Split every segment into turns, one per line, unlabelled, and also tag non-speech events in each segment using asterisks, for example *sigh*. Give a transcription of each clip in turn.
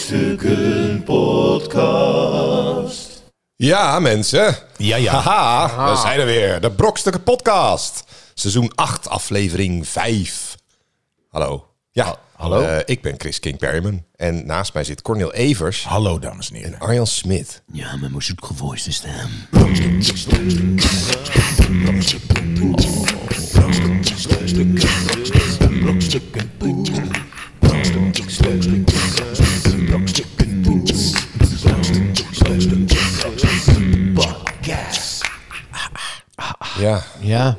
Brokstukken Podcast.
Ja, mensen.
Ja, ja.
Haha, we zijn er weer. De Brokstukken Podcast. Seizoen 8, aflevering 5. Hallo. Ja,
hallo.
Eh, ik ben Chris King Perryman. En naast mij zit Cornel Evers
Hallo, dames en heren.
en Arjan Smit.
Ja, maar moet zoek gevoiste stem.
Ja,
Ja,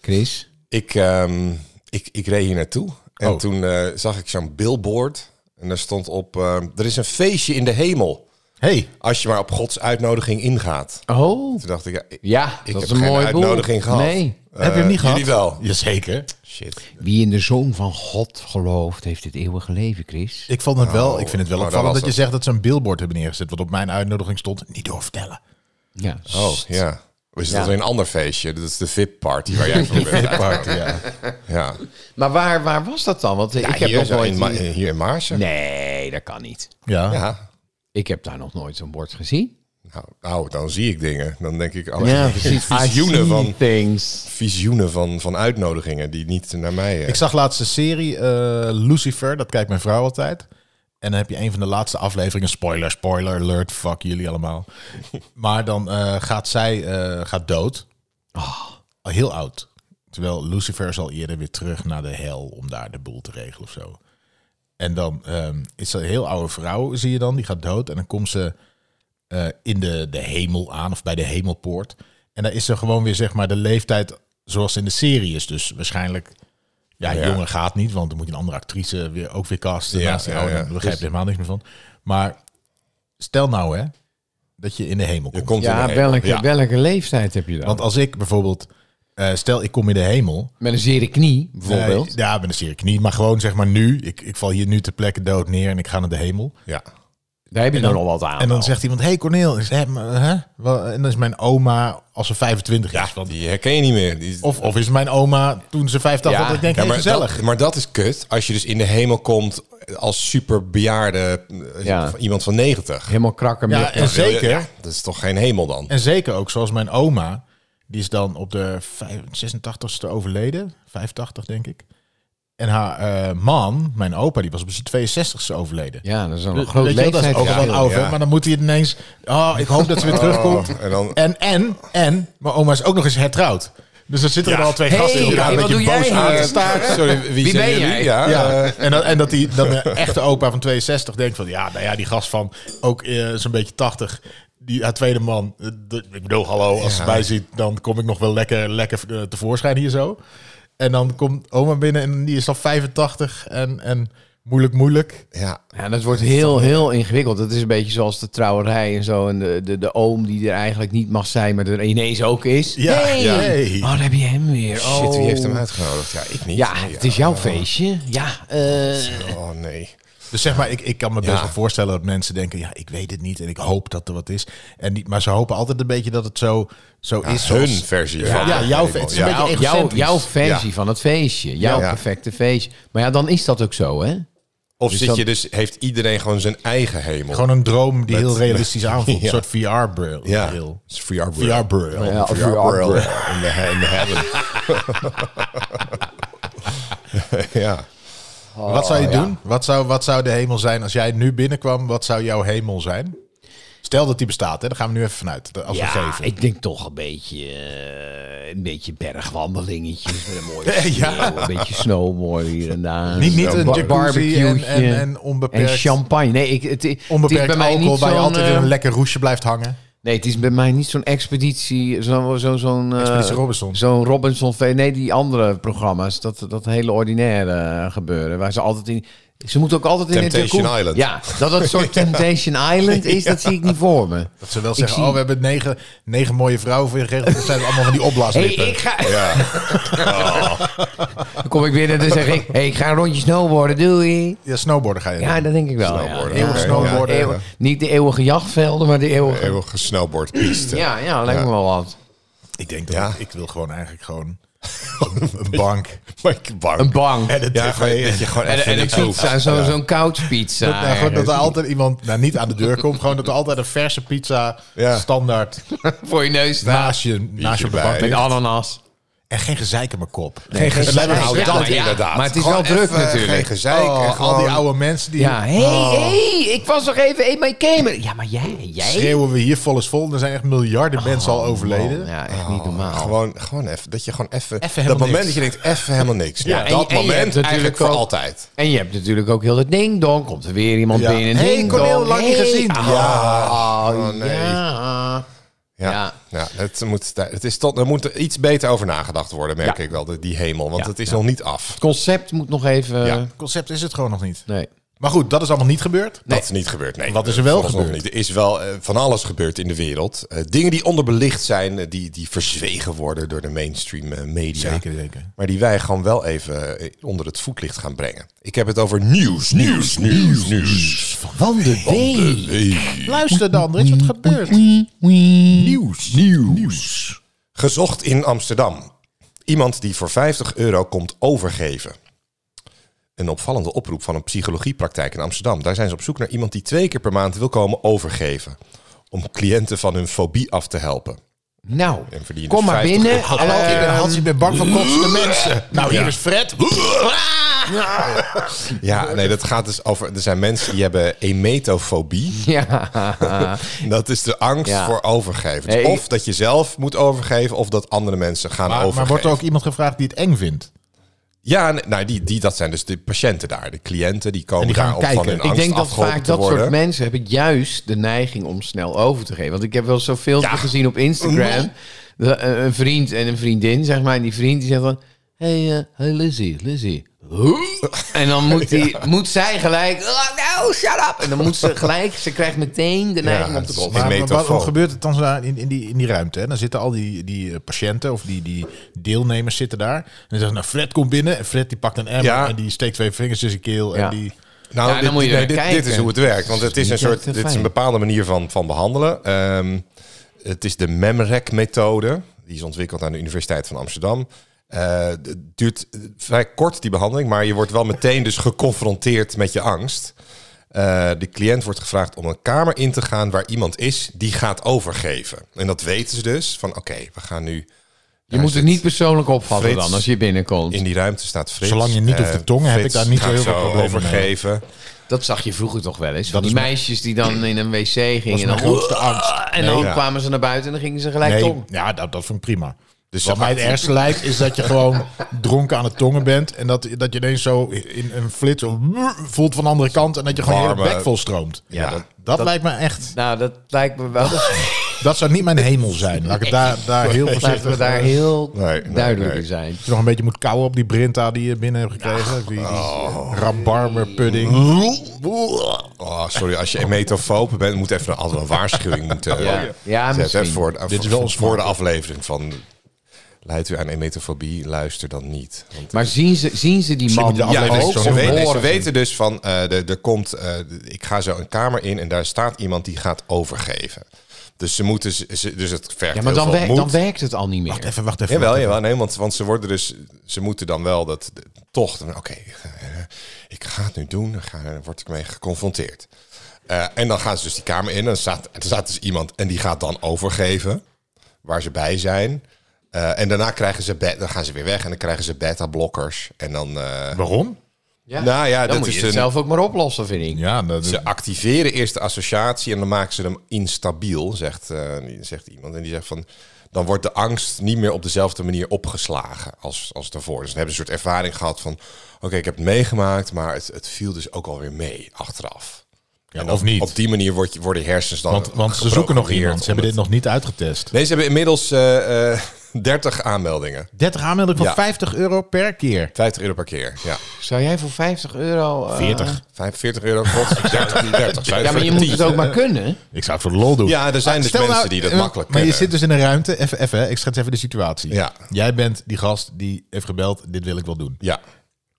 Chris.
ik, ehm, ik, ik reed hier naartoe. En
Oh.
toen eh, zag ik zo'n billboard. En daar stond op, ehm, er is een feestje in de hemel.
Hey.
Als je maar op Gods uitnodiging ingaat.
Oh,
Toen dacht ik, ja, ik,
ja,
ik heb
dat is een
geen
mooie boel.
uitnodiging gehad.
Nee.
Eh,
Heb je hem niet gehad?
Jullie wel.
Jazeker.
Shit.
Wie in de Zoon van God gelooft, heeft het eeuwige leven, Chris.
Ik, vond het wel, ik vind het wel
oh, dat
opvallend
was
dat je
het.
zegt dat ze een billboard hebben neergezet. Wat op mijn uitnodiging stond. Niet doorvertellen.
Ja.
Oh, ja. We zitten weer in een ander feestje. Dat is de VIP-party waar jij
*laughs*
voor bent.
Party, ja.
Ja.
Maar waar, waar was dat dan? Want eh, ik heb
hier,
nog
zo
nooit...
in Ma- hier in Maarsen.
Nee, dat kan niet.
ja.
Ja.
Ik heb daar nog nooit zo'n bord gezien.
Nou, nou, dan zie ik dingen. Dan denk ik oh,
I see
*laughs* visioenen, van,
things.
visioenen van, van uitnodigingen die niet naar mij... eh,
Ik zag laatst een serie, eh, Lucifer. Dat kijkt mijn vrouw altijd. En dan heb je een van de laatste afleveringen. Spoiler, spoiler alert. Fuck
*laughs*
jullie allemaal. Maar dan eh, gaat zij eh, gaat dood.
Oh.
Al Heel oud. Terwijl Lucifer is al eerder weer terug naar de hel om daar de boel te regelen of zo. En dan ehm, is dat een heel oude vrouw, zie je dan. Die gaat dood. En dan komt ze eh, in de, de hemel aan of bij de hemelpoort. En daar is ze gewoon weer, zeg maar, de leeftijd zoals in de serie is. Dus waarschijnlijk, ja,
Ja.
jonger gaat niet, want dan moet je een andere actrice weer, ook weer casten. Nou,
Ja,
naast die
ja,
oude.
ja. Dus-
Daar begrijp je helemaal niks meer van. Maar stel nou, hè, dat je in de hemel
je
komt.
komt in de
Ja,
hemel.
welke,
Ja.
welke leeftijd heb je dan?
Want als ik bijvoorbeeld, eh, stel ik kom in de hemel.
Met een zere knie, bijvoorbeeld.
eh, ja, ben een serie niet, maar gewoon zeg maar nu. Ik, ik val hier nu ter plekke dood neer en ik ga naar de hemel.
Ja.
daar heb je
dan-
dan, nog wat aan.
En dan
al.
zegt iemand, hey Corneel. Ik zeg, "Hè, maar, hè? Wel, En dan is mijn oma als ze 25 is. want-
Die herken je niet meer. Die,
of, of is mijn oma toen ze 50
Ja.
was. Ik denk,
Ja,
hey,
maar,
gezellig.
dat, maar dat is kut. Als je dus in de hemel komt als superbejaarde eh,
Ja.
van iemand van 90.
Helemaal krakken
ja,
met...
en zeker.
Ja, dat is toch geen hemel dan?
En zeker ook zoals mijn oma. Die is dan op de vijf- 86ste overleden. 85 denk ik. En haar eh, man, mijn opa, die was op zijn 62ste overleden.
Ja, dat is wel een
Weet
groot
je wel, dat is ook wel
leeftijdsverschil.
een oude,
Ja.
maar dan moet hij het ineens... Oh, ik hoop dat ze weer terugkomt.
en dan-
en, en, en, mijn oma is ook nog eens hertrouwd. Dus dan zitten
Ja.
er al twee
Hey,
gasten in
wat
elkaar. een beetje
doe jij
boos
hier?
aan te
Ja.
staren.
*laughs*
Sorry, wie,
Wie
zijn
ben
jullie?
jij?
Ja, eh,
Ja, en dat, en dat die dan de echte opa van 62 denkt van ja, nou ja, die gast van ook eh, zo'n beetje 80. Die haar tweede man, eh, de- ik bedoel, hallo, als ze mij ziet, dan kom ik nog wel lekker, lekker eh, tevoorschijn hier zo. En dan komt oma binnen en die is al 85 en, en moeilijk, moeilijk.
ja.
Ja, dat wordt heel, heel ingewikkeld. Dat is een beetje zoals de trouwerij en zo. En de, de, de oom die er eigenlijk niet mag zijn, maar er ineens ook is.
Ja,
Hey!
ja. Hey.
Oh, daar heb je hem weer. Oh.
Shit, wie heeft hem uitgenodigd? Ja, ik niet.
Ja, het is jouw feestje. Ja, eh,
Oh nee.
Dus zeg maar, ik, ik kan me best
Ja.
wel voorstellen dat mensen denken, ja, ik weet het niet en ik hoop dat er wat is. En die, maar ze hopen altijd een beetje dat het zo, zo
Ja,
is.
Ah, hun
zoals-
versie.
Ja,
van
ja,
de
jouw
hemel.
het is
Ja.
een beetje
jou- jouw,
egocentrisch.
jouw versie van het feestje. Jouw
Ja.
perfecte feestje. Maar ja, dan is dat ook zo, hè?
Of
Dus
zit
dan-
je dus, heeft iedereen gewoon zijn eigen hemel?
Gewoon een droom die
Met-
heel realistisch aanvoelt.
*laughs* Ja.
Een soort VR-bril.
ja,
bril.
It's VR
VR-bril.
Braille.
Ja,
VR
VR
Braille in the, he- in the heaven. *laughs* ja.
wat zou
Oh,
je doen? Wat zou, wat zou de hemel zijn als jij nu binnenkwam? Wat zou jouw hemel zijn? Stel dat die bestaat, hè? daar gaan we nu even vanuit. de- Als we
Ja,
geven.
ik denk toch een beetje, eh, een beetje bergwandelingetjes met een mooie sneeuw,
*laughs* Ja.
een beetje snowboard hier en daar.
Niet- niet
Zo'n
een
ba-
jacuzzi en-
barbecueetje.
en- en onbeperkt-
En champagne. Nee, ik, het, het
Onbeperkt
is bij mij
alcohol
niet
waar je
zo'n,
altijd in
eh,
een lekker roesje blijft hangen.
Nee, het is bij mij niet zo'n expeditie, zo'n zo, zo'n eh,
Expeditie Robinson.
Zo'n Robinson, V- nee, die andere programma's, dat, dat hele ordinaire eh, gebeuren, waar ze altijd in... Ze moeten ook altijd in het
Temptation
jacuzzi-
Island.
Ja, dat dat
*laughs*
soort Temptation Island is, dat zie ik niet voor me.
Dat ze wel
Ik
zeggen,
zie-
oh we hebben negen, negen mooie vrouwen voor je geregeld. Dat zijn allemaal van die
hey,
opblaaslippen.
ik ga...
ja.
Dan kom ik binnen en dan zeg ik, hey, ik ga een rondje snowboarden, doei.
Ja, snowboarden ga je
Ja,
doen.
dat denk ik wel.
Snowboarden,
ja.
Eeuwig
oké,
snowboarden.
ja, ja.
Eeuw- niet de eeuwige jachtvelden, maar de eeuwige...
Eeuwig gesnowboardpiste.
Ja, ja, lijkt me wel wat.
Ik denk dat
Ja.
ik, ik wil *laughs* gewoon eigenlijk gewoon Een bank.
Mike Bang.
Een bank.
En een
Ja,
tv.
gewoon, dat je gewoon
En,
even
en een
niks hoeft.
pizza, zo- zo'n couchpizza.
Dat, *laughs* nou, gewoon dat er
ergens.
altijd iemand nou, niet aan de deur komt. Gewoon dat er altijd een verse pizza
Ja.
standaard
*laughs* voor je neus staat.
naast je, naast je op de
erbij.
bank
Met
ligt.
ananas.
En geen gezeik in mijn kop.
Geen gezeik.
Het lijkt me
Nou,
een
dat
maar ja,
inderdaad.
maar het is
Gewoon
wel druk
even Geen
natuurlijk.
gezeik. en
Oh,
gewoon-
al die oude mensen die
Ja, hé,
Oh.
hé, ik was nog even één bij Kamer. Ja, maar jij, jij.
schreeuwen we hier vol is vol. Er zijn echt miljarden mensen al overleden.
Oh, Man, ja, echt niet
Oh,
normaal.
Gewoon, gewoon even, dat je gewoon even...
Even
dat
helemaal
moment
niks.
dat je denkt, even helemaal niks.
Ja,
Ja,
en-
dat
en je hebt
moment
natuurlijk
eigenlijk voor
ook-
altijd.
En je hebt natuurlijk ook heel het ding-dong. Komt er weer iemand
Ja.
binnen.
Hey,
ding
Cornel, lang niet gezien.
Ja.
ja.
Oh, nee.
Ah. ja.
Ja,
Ja.
ja. het moet, het is tot, er moet er iets beter over nagedacht worden, merk
Ja.
ik wel, de- die hemel. Want
Ja,
het is nog niet af.
Het concept moet nog even...
Ja.
Concept is het gewoon nog niet.
Nee.
Maar goed, dat is allemaal niet gebeurd.
Dat is niet gebeurd. Nee,
Wat is er wel
Volgens nog
gebeurd?
Niet. Er is wel eh, van alles gebeurd in de wereld. Eh, dingen die onderbelicht zijn, eh, die, die verzwegen worden door de mainstream eh, media.
zeker.
Maar die wij gewoon wel even eh, onder het voetlicht gaan brengen. Ik heb het over nieuws, nieuws, nieuws, nieuws.
Van de week.
Hey.
Luister dan, er is wat gebeurd.
Nieuws, nieuws. Gezocht in Amsterdam. Iemand die voor 50 euro komt overgeven. Een opvallende oproep van een psychologiepraktijk in Amsterdam. Daar zijn ze op zoek naar iemand die twee keer per maand wil komen overgeven. Om cliënten van hun fobie af te helpen.
Nou,
En verdienen
kom maar
50
binnen.
euro.
Eh,
Hallo, ik ben Hans, ik ben bang voor *laughs* kotsende mensen. Nou, hier is Fred.
Ja, nee, dat gaat dus over. Er zijn mensen die hebben emetofobie.
ja.
Dat is de angst
Ja.
voor overgeven. Dus
Nee, ik-
of dat je zelf moet overgeven, of dat andere mensen gaan
Maar,
overgeven.
maar wordt er ook iemand gevraagd die het eng vindt?
Ja, nee, nou, die, die, dat zijn dus de patiënten daar. De cliënten die komen
En die gaan
daar op van
kijken.
hun
Ik
angst
denk dat
afgeholpen
vaak
te
dat soort
worden.
mensen hebben juist de neiging om snel over te geven. Want ik heb wel zoveel filmpje
Ja. Mm-hmm.
gezien op Instagram. Dat, eh, een vriend en een vriendin, zeg maar. En die vriend die zegt van... Hey, eh, hey Lizzie, Lizzie.
*laughs*
Huh? En dan moet, die, moet zij gelijk... Oh, nou, shut up. En dan moet ze gelijk... Ze krijgt meteen de neiging om
het
te
is-
kotsen.
Een
Maar, maar wat,
metafoor.
wat gebeurt het dan zo in, in, die, in die ruimte? Hè? Dan zitten al die, die eh, patiënten of die, die deelnemers zitten daar. En dan zeggen ze, nou, Fred komt binnen. En Fred die pakt een emmer
Ja.
en die steekt twee vingers in zijn keel.
Ja.
En die,
Nou,
Ja, dan
dit,
moet je
nee,
er
dit,
kijken.
dit is hoe het werkt. Want het is een
niet
soort.
echt heel
Dit is
fijn.
een bepaalde manier van, van behandelen. Ehm, het is de MEMREC-methode. Die is ontwikkeld aan de Universiteit van Amsterdam. Eh, het duurt vrij kort, die behandeling. Maar je wordt wel meteen dus geconfronteerd met je angst. Eh, de cliënt wordt gevraagd om een kamer in te gaan waar iemand is die gaat overgeven. En dat weten ze dus van oké, we gaan nu.
Je moet het niet persoonlijk opvatten
Frits.
dan als je binnenkomt.
In die ruimte staat Frits.
Zolang je niet
Eh,
hoeft te tongen, heb ik
Frits
daar niet zo
gaat
heel veel
zo
problemen mee.
overgeven.
Dat zag je vroeger toch wel eens. Van
Dat
die
is mijn-
meisjes die dan in een wc gingen. En
mijn
dan,
grootste angst.
en dan
Ja.
kwamen ze naar buiten en dan gingen ze gelijk
nee,
om.
ja, dat, dat vond ik prima.
Dus
Dus wat
dat-
mij het ergste lijkt, is dat je gewoon *laughs* dronken aan het tongen bent. En dat, dat je ineens zo in een flits zo voelt van de andere kant. En dat je gewoon je hele
Warme-
bek vol stroomt.
Ja,
dat,
dat-
lijkt me echt...
Nou, dat lijkt me wel.
Dat zou niet mijn hemel zijn. Laat ik het daar, daar
*laughs*
heel
Laten we
voorzichtig...
daar heel
Nee, nee,
duidelijk
nee.
in zijn.
Als je nog een beetje moet kauwen op die Brinta die je binnen hebt gekregen.
Ah.
Die, die rabarberpudding.
Oh, sorry, als je emetofoob bent, moet even een, altijd een
*laughs*
waarschuwing moeten
Ja. Ja,
zetten.
misschien.
hè, Voor, de-
Dit is
voor-
wel
voor de aflevering van... Leidt u aan emetofobie, luister dan niet. Want
Maar zien ze, zien ze die man
moet je
ja,
ja,
aflevering
nee,
ook?
zo
ze,
Of
weten, nee, ze
horen ze?
weten dus van, eh, de- er komt, eh, de- ik ga zo een kamer in en daar staat iemand die gaat overgeven. Dus ze moeten, ze, ze- dus het vergt
Ja, maar
heel
dan,
veel
wer-
moed.
dan werkt het al niet meer.
Even, wacht even.
Jawel,
wacht even.
jawel. Nee, want, want ze worden dus... Ze moeten dan wel dat... de- Toch, dan, oké, eh, ik ga het nu doen. Dan, ga, dan word ik mee geconfronteerd. Eh, en dan gaan ze dus die kamer in. En er staat, er staat dus iemand en die gaat dan overgeven. Waar ze bij zijn. Eh, en daarna krijgen ze bed, dan gaan ze weer weg en dan krijgen ze beta-blokkers. En dan eh,
Waarom?
Ja.
Nou ja,
dan
dat
moet
is
je het
een-
zelf ook maar oplossen, vind ik.
Ja, dat,
ze activeren eerst de associatie en dan maken ze hem instabiel, zegt, eh, zegt iemand. En die zegt van, dan wordt de angst niet meer op dezelfde manier opgeslagen als, als daarvoor. Dus dan hebben ze een soort ervaring gehad van, oké, ik heb het meegemaakt, maar het, het viel dus ook alweer mee achteraf.
Ja,
En
of
dan-
niet.
Op die manier wordt je, worden je hersens dan
want, want ze zoeken nog
geprogrammeerd
iemand. Ze hebben
om
dit nog niet uitgetest.
het- Nee, ze hebben inmiddels eh, *laughs* eh, 30 aanmeldingen.
30 aanmeldingen van
Ja.
50 euro per keer.
50 euro per keer, ja.
Zou jij voor 50 euro... eh,
40.
45 euro
*laughs*
kost 30, 30. Zou
Ja, maar je
voor
moet
10?
het ook maar Ah, kunnen.
Ik zou het voor de lol doen.
Ja, er zijn dus
Stel
mensen
nou,
die dat
eh,
makkelijk
Maar je
kennen.
zit dus in een ruimte. Even, even hè, ik schets even de situatie.
Ja.
Jij bent die gast die heeft gebeld. Dit wil ik wel doen.
Ja,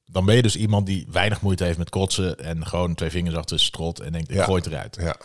Dan ben je dus iemand die weinig moeite heeft met kotsen. En gewoon twee vingers achter de strot. En denkt, ik
Ja.
gooi het eruit.
ja.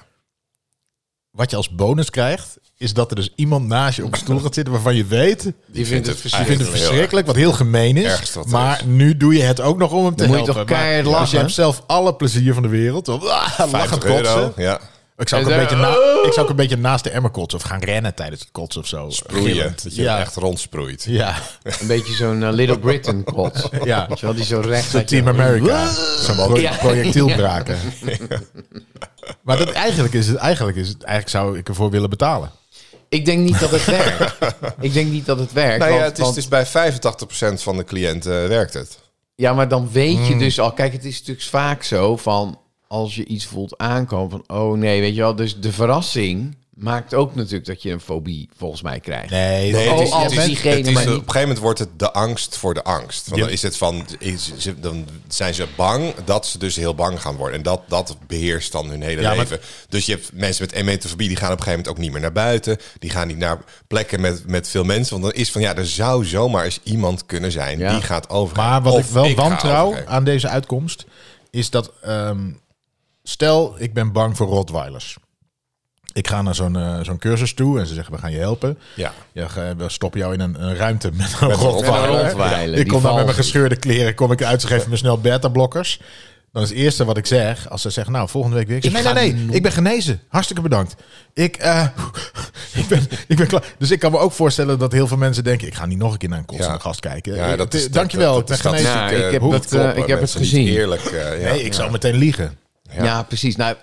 wat je als bonus krijgt, is dat er dus iemand naast je op een stoel gaat zitten waarvan je weet. Je
Die vindt het
eigenlijk
verschrikkelijk.
vindt het
Ah, heel erg.
verschrikkelijk, wat heel gemeen
Ergst
is.
wat er
Maar
is.
nu doe je het ook nog om hem te
Dan moet je
helpen.
toch keihard
maar, als je
lachen?
hebt zelf alle plezier van de wereld. dan- Ah, lachen
50 euro.
kotsen.
Ja.
Ik zou, ook
En "Oh."
een
dan-
beetje na- ik zou ook een beetje naast de emmer kotsen. Of gaan rennen tijdens het kotsen of zo.
Sproeien.
Gillend.
Dat je
ja.
echt rondsproeit.
Ja,
Een beetje zo'n eh, Little Britain kot.
*laughs*
ja.
Weet je wel, die zo recht...
Zo'n Team America. Zo'n pro-
Ja.
*laughs*
projectielbraken. Maar dat, eigenlijk, is het, eigenlijk, is het, eigenlijk zou ik ervoor willen betalen.
Ik denk niet dat het werkt. Ik denk niet dat het werkt.
Nou ja,
want-
het is,
want-
het is bij 85% van de cliënten werkt het.
Ja, maar dan weet
Hmm.
je dus al. Kijk, het is natuurlijk vaak zo van als je iets voelt aankomen van oh nee, weet je wel. Dus de verrassing maakt ook natuurlijk dat je een fobie volgens mij krijgt.
Nee,
Nee,
Oh,
het is,
als
het is-
diegene
het is-
maar
op
niet-
een gegeven moment wordt het de angst voor de angst. Want
Ja.
dan is het van, is, ze- dan zijn ze bang dat ze dus heel bang gaan worden. En dat, dat beheerst dan hun hele
Ja, maar-
leven. Dus je hebt mensen met emetofobie, die gaan op een gegeven moment ook niet meer naar buiten. Die gaan niet naar plekken met, met veel mensen. Want dan is van, ja, er zou zomaar eens iemand kunnen zijn
Ja.
die gaat overgaan.
Maar wat
Of
ik wel
ga
wantrouw
overgeven.
aan deze uitkomst is dat. ehm, stel, ik ben bang voor Rottweilers. Ik ga naar zo'n eh, zo'n cursus toe en ze zeggen: We gaan je helpen.
Ja.
Ja, ge- we stoppen jou in een, een ruimte met een
Met een
Rottweiler.
Rottweiler,
Ja,
die
Ik kom dan met
valt.
mijn gescheurde kleren kom ik uit. Ze geven me snel beta-blokkers. Dan is het eerste wat ik zeg, als ze zeggen, nou, volgende week weer. Ik zeg,
Ik
nee,
ga
nee, nee,
nooit-
ik ben genezen. Hartstikke bedankt. Ik, eh, *laughs* ik, ben, ik ben klaar. Dus ik kan me ook voorstellen dat heel veel mensen denken... ik ga niet nog een keer naar een kotsende
Ja.
gast kijken. Eh,
Ja, dat is,
Dankjewel,
dat-
ik
dat
ben
is statistiek,
genezen.
Nou, ik
eh,
heb
hoe
dat, eh,
kloppen
ik heb het
mensen niet
gezien.
Eerlijk, eh, ja.
Nee, ik zou meteen liegen.
Ja, precies. Nou,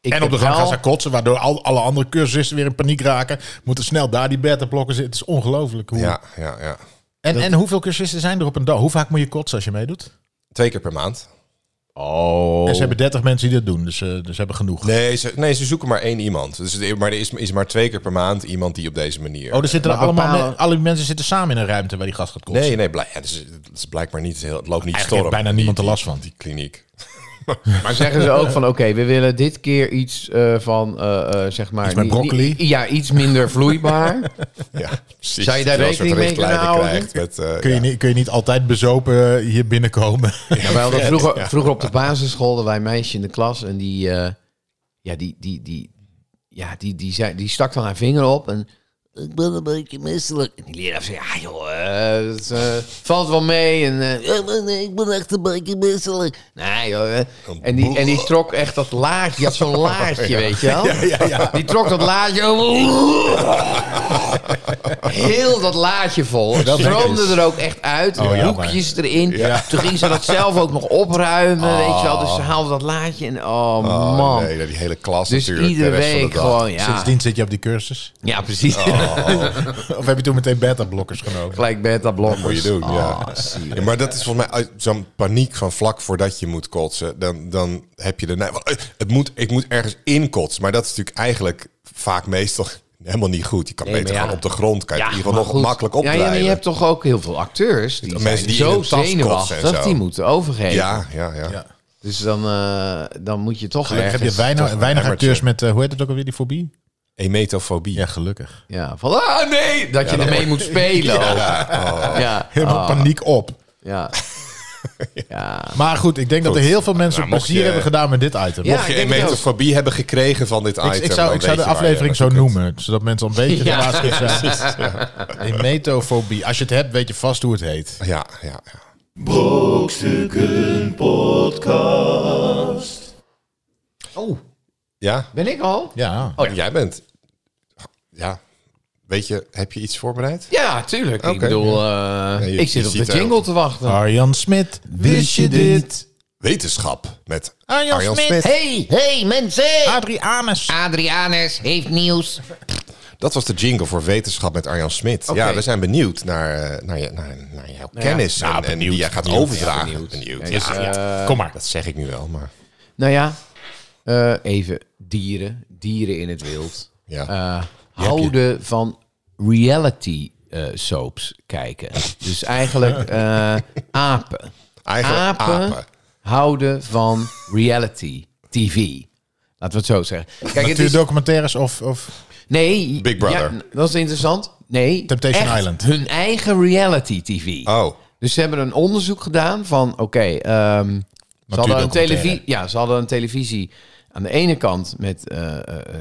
ik
en
heb
op de gang
wel-
gaan ze kotsen, waardoor al, alle andere cursisten weer in paniek raken. Moeten snel daar die beta-blokkers zitten. Het is ongelooflijk. Hoe...
ja, ja, ja.
En, en hoeveel cursisten zijn er op een dag? Hoe vaak moet je kotsen als je meedoet?
Twee keer per maand.
Oh.
En ze hebben 30 mensen die dat doen, dus, eh, dus ze hebben genoeg.
Nee ze, nee, ze zoeken maar één iemand. Dus, het- maar er is, is maar twee keer per maand iemand die op deze manier...
Oh, er zitten
Maar
allemaal
bepalen-
me- alle mensen zitten samen in een ruimte waar die gast gaat kotsen.
nee, nee, blijk, ja, dus, het is blijkbaar niet heel... Het loopt niet
Eigenlijk
storm.
heeft bijna niemand er last van.
Die kliniek.
Maar zeggen ze ook van oké, we willen dit keer iets eh, van eh, eh, zeg maar.
Iets met
niet- niet-
broccoli?
ja, iets minder vloeibaar.
*laughs* Ja, precies.
Zou je daar
Terwijl ze
rekening
een soort
mee
richtlijnen
kunnen houden?
krijgt Met, eh,
Kun, je
ja.
niet, kun je niet altijd bezopen eh, hier binnenkomen?
Ja, wij hadden vroeger, vroeger op de basisschool hadden wij een meisje in de klas en die, eh, ja, die, die, die, ja, die, die, zei, die stak dan haar vinger op en ik ben een beetje misselijk. En die leraar zei, ja joh, eh, het eh, valt wel mee en eh, "Ja, maar nee, ik ben echt een beetje misselijk. Nee joh, eh. en, die, en die trok echt dat laadje, die had zo'n laadje, weet je wel. Die trok dat laadje Heel dat laadje vol. Het
Dat
stroomde er ook echt uit.
Oh, jammer.
hoekjes erin. Toen ging ze dat zelf ook nog opruimen. Weet je wel. Dus ze haalde dat laadje. En, oh,
Ah. Oh,
man.
nee, die hele klas
dus
natuurlijk. de
iedere
rest van de
week
dag.
gewoon. Ja,
*laughs* Sindsdien zit je op die cursus. Oh.
ja precies.
Oh.
*laughs* Of heb je toen meteen beta-blokkers
*laughs*
genomen?
Gelijk beta blokkers.
Moet je doen, ja.
Ah, zielig.
Ja, maar dat is volgens mij uit zo'n paniek van vlak voordat je moet kotsen. Dan, dan heb je de neiging van, eh, het moet, ik moet ergens in kotsen. Maar dat is natuurlijk eigenlijk vaak meestal helemaal niet goed. Je kan beter
maar ja.
gaan op de grond. Kan je
Ja,
in ieder
maar
geval nog
goed.
makkelijk
Ja,
opdraaien.
Ja, maar je hebt toch ook heel veel acteurs. Die
Mensen
zijn
die in
zo
hun tas kotsen en
zenuwachtig.
zo.
Die moeten overgeven.
Ja, ja, ja.
Ja.
Dus dan, eh, dan moet je toch
Gelukkig heb je
ergens...
weinig,
een
weinig
emmertje.
acteurs met, eh, hoe heet het ook alweer, die fobie?
Emetofobie.
Ja, gelukkig.
Ja, van ah nee, dat je ermee moet
*laughs*
spelen. ook. Ja,
Helemaal
ah,
*laughs* paniek op.
Ja. ja.
Maar goed, ik denk dat er heel veel mensen
Nou, mocht
plezier
je-
hebben gedaan met dit item.
Ja,
Mocht je
ik denk het
emetofobie hebben gekregen van dit
ik,
item...
ik zou,
dan
ik zou de
weet je waar
aflevering
je
zo
naartoe
noemen, zodat mensen al
*laughs*
een beetje
Ja.
verbaasd zijn. Emetofobie. Als je het hebt, weet je vast hoe het heet.
kunt. Ja, ja, ja.
Brokstukken Podcast.
Oh,
Ja?
ben ik al?
Ja.
Oh, ja.
Jij bent... Ja. Weet je, heb je iets voorbereid?
Ja, tuurlijk. Ik
Oké.
bedoel, eh,
je-
ik zit
je
op de
ziet Ah. er
jingle te wachten.
Arjan Smit, wist je dit?
Wetenschap met
Arjan
Arjan,
Smit.
Smit.
Hey, hey mensen! Ah,
Adrianus.
Adrianus heeft nieuws.
Dat was de jingle voor Wetenschap met Arjan Smit. Ja, we zijn benieuwd naar, eh, naar, je- naar, naar jouw kennis
Nou,
en, en die jij gaat overdragen. Benieuwd. Ja,
Eh,
Kom maar.
dat zeg ik nu wel, maar...
Nou ja, eh, even dieren. Dieren in het wild.
Ja.
Eh, houden van reality eh, soaps kijken. dus
*laughs*
eigenlijk eh, apen.
Eigenlijk
apen,
apen.
houden van reality TV. Laten we het zo zeggen. Kijk, het is,
Natuurdocumentaires of, of...
nee,
Big Brother.
ja, dat is interessant. Nee,
Temptation
echt
Island.
Hun eigen reality TV.
Oh,
Dus ze hebben een onderzoek gedaan van, oké, ehm, ze hadden een
Natuurdocumentaire.
televisie, ja, ze hadden een televisie Aan de ene kant met eh, eh, eh,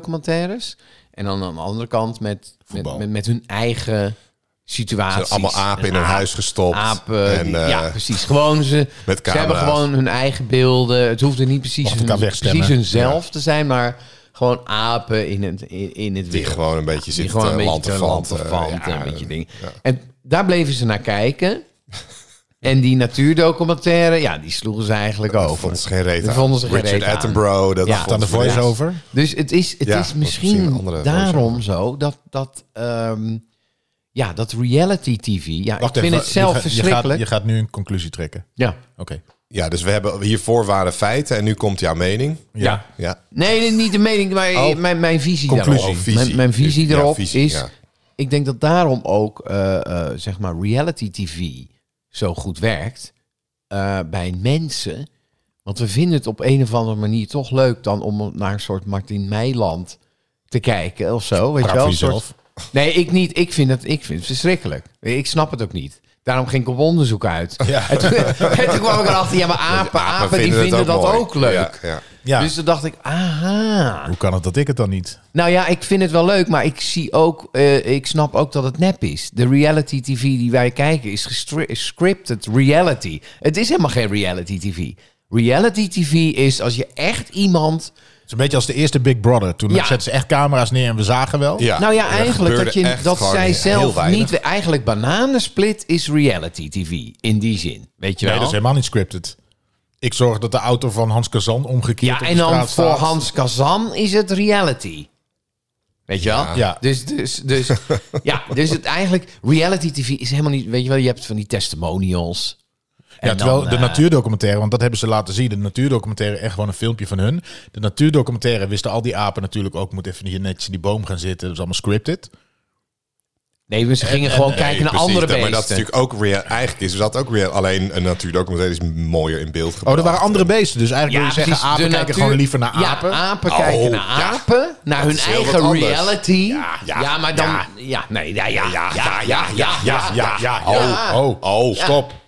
natuurdocumentaires. En dan aan de andere kant met, met,
Voetbal.
met, met hun
Ze
eigen situaties.
hebben allemaal apen in
Een
hun
aap-
huis gestopt.
Apen,
en,
die-
eh,
ja, precies. Gewoon ze,
met
ze hebben
camera's.
gewoon hun eigen beelden. Het hoefde niet precies,
Mocht elkaar
hun-
wegstemmen.
precies hunzelf te zijn, maar gewoon apen in het, in, in het
die
wild.
gewoon een beetje eh,
Die
zitten
gewoon een beetje te
lanterfanten.
lanterfanten,
Ja,
een beetje dingen. En daar bleven ze naar
*laughs*
kijken. En die natuurdocumentaire, ja, die sloegen ze eigenlijk
dat
over.
vond oh, ze geen reet
Dat
aan.
vonden ze geen
Richard
reet aan.
Attenborough. Dat
Ja.
vond
Dan de
ze- ja.
voice-over.
Dus het is, het
Ja,
is
dat was misschien een
misschien
andere
daarom zo dat, dat, ehm, ja, dat reality TV. Ja, ik vind het zelf
je, gaat- Je gaat,
verschrikkelijk.
je gaat nu een conclusie trekken.
ja.
Oké.
Ja, dus we hebben hiervoor waren feiten en nu komt jouw mening.
Ja.
Ja,
Nee, nee, niet de mening, maar
Oh.
mijn, mijn visie
Conclusie.
daarop.
Oh, visie.
Mijn, mijn visie
Ja,
erop
visie,
is...
ja.
Ik denk dat daarom ook, eh, eh, zeg maar, reality tv zo goed werkt eh, bij mensen. Want we vinden het op een of andere manier toch leuk dan om naar een soort Martin Meiland te kijken of zo. Weet je
Praat
wel?
voor
Een soort-
jezelf.
Nee, ik niet. Ik vind het, ik vind het verschrikkelijk. Ik snap het ook niet. Daarom ging ik op onderzoek uit.
Ja.
En, toen, *laughs* en toen kwam ik erachter, ja, maar apen, apen, die vinden
het
dat
mooi.
ook leuk.
Ja, ja.
Ja.
Dus toen dacht ik, aha.
Hoe kan het dat ik het dan niet?
Nou ja, ik vind het wel leuk, maar ik zie ook, eh, ik snap ook dat het nep is. De reality TV die wij kijken is gestri- is scripted reality. Het is helemaal geen reality TV. Reality TV is als je echt iemand.
Het is een beetje als de eerste Big Brother. Toen
Ja.
zetten ze echt camera's neer en we zagen wel.
Ja.
nou ja,
er
eigenlijk
gebeurde
dat, je,
echt
dat
gewoon
zij
heel
zelf
weinig.
niet. Eigenlijk bananensplit is reality TV in die zin. Weet je
Nee,
wel?
dat is helemaal niet scripted. Ik zorg dat de auto van Hans Kazan omgekeerd
ja,
op de
en dan
straat
voor
staat.
Hans Kazan is het reality. Weet je wel?
Ja.
Dus, dus, dus, ja, dus het eigenlijk, reality TV is helemaal niet, weet je wel, je hebt van die testimonials. En
Ja, terwijl
dan,
de
eh,
natuurdocumentaire, want dat hebben ze laten zien. De natuurdocumentaire, echt gewoon een filmpje van hun. De natuurdocumentaire wisten al die apen natuurlijk ook. Moet even hier netjes in die boom gaan zitten. Dat is allemaal scripted.
Nee, we ze gingen gewoon kijken
Nee,
naar
precies,
andere
dat-
beesten.
Maar dat is natuurlijk ook real. Eigenlijk is dat ook real. Alleen een natuurdocumentaire is mooier in beeld gebracht.
Oh, er waren andere beesten. Dus eigenlijk wil je
precies,
zeggen, apen
de
kijken
natuur-
gewoon liever naar apen.
Ja, apen
Oh,
kijken naar
ja.
apen, naar hun
is heel wat
eigen
anders.
reality. Ja,
ja,
maar dan... Ja,
ja.
nee, ja, ja, Oh, ja, ja, ja, ja,
ja, ja, ja.
Ja.
Oh, oh,
Oh,
stop.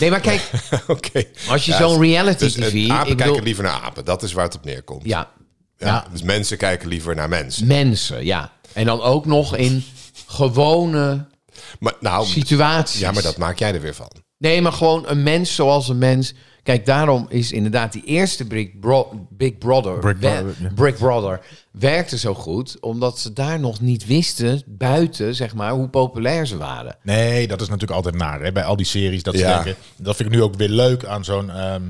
Nee, maar kijk,
*laughs* Oké.
als je
Ja,
zo'n reality
Dus eh,
TV... ik
apen
bedoel-
kijken liever naar apen. Dat is waar het op neerkomt.
Ja,
Ja,
Ja.
Dus mensen kijken liever naar mensen.
mensen, ja. En dan ook nog in gewone
Maar, nou,
situaties.
ja, maar dat maak jij er weer van.
Nee, maar gewoon een mens zoals een mens. Kijk, daarom is inderdaad die eerste Big, Bro- Big Brother...
Brick
wer-
Brother, ja.
Brick Brother werkte zo goed, omdat ze daar nog niet wisten, buiten, zeg maar, hoe populair ze waren.
Nee, dat is natuurlijk altijd naar. Hè? Bij al die series dat ze
Ja.
denken. Dat vind ik nu ook weer leuk aan zo'n... ehm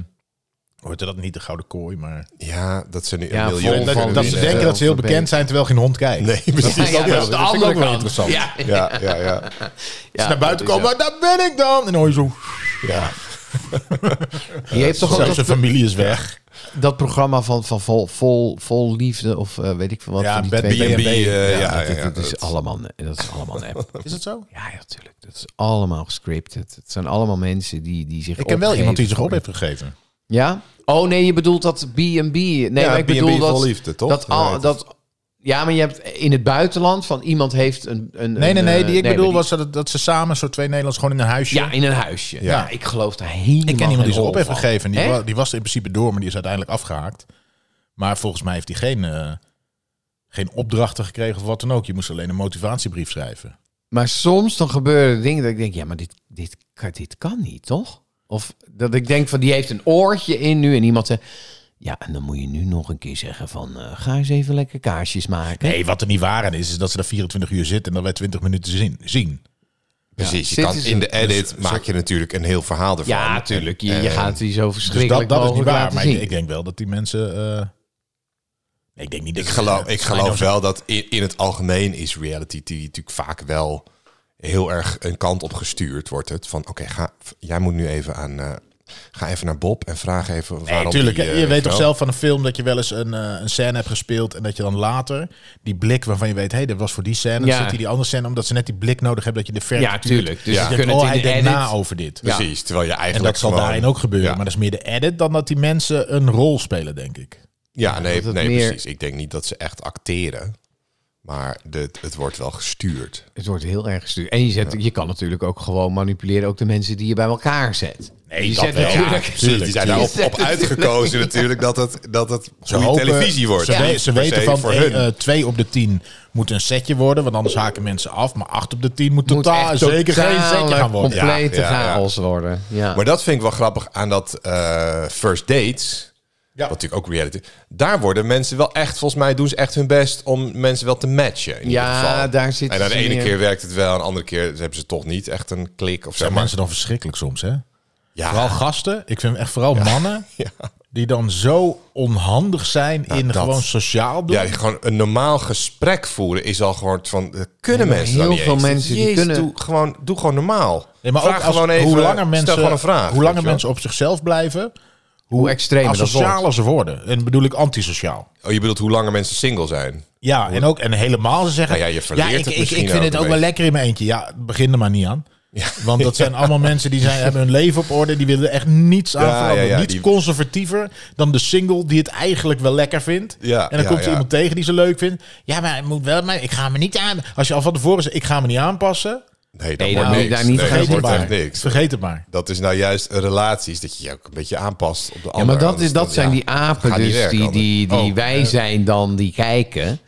hoort dat niet de Gouden Kooi, maar...
Ja, dat ze nu
Ja,
een miljoen
vol van
Dat,
kunnen
dat ze
winnen.
eh,
denken dat ze heel bekend zijn, terwijl geen hond kijkt.
Nee, precies.
Ja,
ook wel-
is de
dat vind ik
andere
ook wel
kant.
interessant.
Ja,
*laughs* Ja, ja, ja.
ja,
naar buiten
dat is
komen, maar daar ben ik dan! En dan hoor je zo... Ja,
zo. Je hebt toch ook
zelfs
dat,
zijn familie is weg.
dat programma van, van vol, vol, vol liefde of eh, weet ik veel wat.
Ja,
van die
Bad
twee-
Bee
B&B,
Ja,
eh, ja,
Ja,
ja,
dat,
ja,
dat is
dat-
allemaal, ne- dat is allemaal nep.
Is dat zo?
Ja, ja, natuurlijk. Dat is allemaal gescripted. Het zijn allemaal mensen die, die zich
Ik ken wel
opgeven
iemand die zich
voor-
op heeft gegeven.
Ja? Oh nee, je bedoelt dat B&B... Nee, maar ik
B&B
bedoel dat...
vol liefde, toch?
Dat al,
Ja, dat-
dat, ja, maar je hebt in het buitenland van iemand heeft een... een
Nee, nee,
een,
nee.
eh,
Die ik bedoel
maar die-
was dat, dat ze samen, zo twee Nederlanders, gewoon in een huisje...
Ja, in een huisje. Ja, ik geloof daar helemaal
Ik ken iemand die
geen
ze op
hol
heeft
van.
gegeven. Die,
Echt?
wa- die was er in principe door, maar die is uiteindelijk afgehaakt. Maar volgens mij heeft hij geen, eh, geen opdrachten gekregen of wat dan ook. Je moest alleen een motivatiebrief schrijven.
Maar soms dan gebeuren er dingen dat ik denk... Ja, maar dit, dit, kan- dit kan niet, toch? Of dat ik denk van, die heeft een oortje in nu en iemand zegt... Ja, en dan moet je nu nog een keer zeggen van... eh, ga eens even lekker kaarsjes maken.
Nee, wat er niet waar aan is, is dat ze daar 24 uur zitten en dat wij 20 minuten zien. zien. Dus
Precies, je
Zitten
kan
ze- Dus-
in de edit maak je natuurlijk een heel verhaal ervan. Eh,
Ja, natuurlijk. Je, je
En-
gaat die zo
Eh, Dus
verschrikkelijk
dat, dat is niet
mogelijk
waar.
laten
Maar
zien.
ik, ik denk wel dat die mensen... eh, nee, ik denk niet dat
Ik
ze-
geloof, ik
I
geloof
don't-
wel dat in, in het algemeen is reality TV natuurlijk vaak wel heel erg een kant op gestuurd wordt. Het van oké, ga jij moet nu even aan eh, ga even naar Bob en vraag even waarom.
Nee, tuurlijk.
die,
hè.
eh,
je weet toch
wel-
zelf van een film dat je wel eens een, eh, een scène hebt gespeeld. En dat je dan later die blik waarvan je weet, hé, dat was voor die scène. Dan
Ja.
zit hij die andere scène, omdat ze net die blik nodig hebben dat je de ver
Ja, tuurlijk. Dus
Dus
ze
je denkt,
kunnen
oh,
het in
hij
de
denkt
edit.
na over dit.
Precies, terwijl je
En
eigenlijk
dat zal
gewoon-
daarin ook gebeuren.
Ja.
Maar dat is meer de edit dan dat die mensen een rol spelen, denk ik.
Ja, nee,
dat het
nee
meer-
precies. Ik denk niet dat ze echt acteren. Maar de, het wordt wel gestuurd.
Het wordt heel erg gestuurd. En je, zet, je kan natuurlijk ook gewoon manipuleren, ook de mensen die je bij elkaar zet. Nee, je
dat
zet *laughs*
wel.
natuurlijk.
Ja,
Dus die zijn
tuurlijk.
daarop op
*laughs*
uitgekozen natuurlijk dat het, dat het goede
hopen-
televisie wordt.
Ze,
Niet
we-
per
ze
se
weten van
voor
eh,
hun.
eh, twee op de tien moet een setje worden, want anders haken mensen af. Maar acht op de tien moet,
Moet
totaal
echt
zeker geen setje
totale,
gaan worden. Ja.
Complete
Ja, ja, ja.
chaos worden. Ja.
Maar dat vind ik wel grappig aan dat eh, first dates.
Ja.
Wat natuurlijk ook reality. Daar worden mensen wel echt, volgens mij doen ze echt hun best om mensen wel te matchen. In
Ja,
ieder geval.
daar zitten
En dan de
ze
ene
meer.
keer werkt het wel, en de andere keer hebben ze toch niet echt een klik of zo.
Zijn
Maar,
mensen dan verschrikkelijk soms, hè?
ja,
Vooral gasten. Ik vind echt vooral mannen
*laughs* ja.
die dan zo onhandig zijn in
dat-
gewoon sociaal doen.
ja, gewoon een normaal gesprek voeren is al gewoon van, eh, kunnen
maar
mensen dan
heel
niet
veel
eens?
mensen die
Jezus,
kunnen-
Doe gewoon, doe gewoon normaal.
Nee, maar
Vraag
ook als,
gewoon even, eh,
hoe langer mensen,
stel gewoon een vraag.
hoe langer
weet je wel.
mensen op zichzelf blijven,
hoe extremer dat wordt.
asocialer ze worden. En bedoel ik antisociaal.
Oh, je bedoelt hoe langer mensen single zijn?
Ja, en ook en helemaal ze zeggen.
Nou ja, je verleert
ik,
het
ik,
misschien
ik vind
ook
het
een
ook wel
beetje.
lekker in mijn eentje. Ja, begin er maar niet aan. Want dat
*laughs*
zijn allemaal mensen die zijn, hebben hun leven op orde. Die willen echt niets aan
Ja,
veranderen.
ja, ja,
niets
die-
conservatiever dan de single die het eigenlijk wel lekker vindt.
Ja,
en dan
ja,
komt er
ja.
iemand tegen die ze leuk vindt. Ja, maar, het moet wel, maar ik ga me niet aan... Als je al van tevoren zegt, ik ga me niet aanpassen.
Nee, dat
Nee,
wordt
nou,
niks.
daar niet
nee, dat
Vergeet het
wordt echt
maar.
niks.
Vergeet het maar.
Dat is nou juist relaties, dat je je ook een beetje aanpast op de
Ja,
ander.
maar dat,
Anders
is, dat
dan-
zijn
ja,
die apen
gaat niet
dus
werken,
die,
anders.
die, die
Oh,
wij zijn dan, die kijken.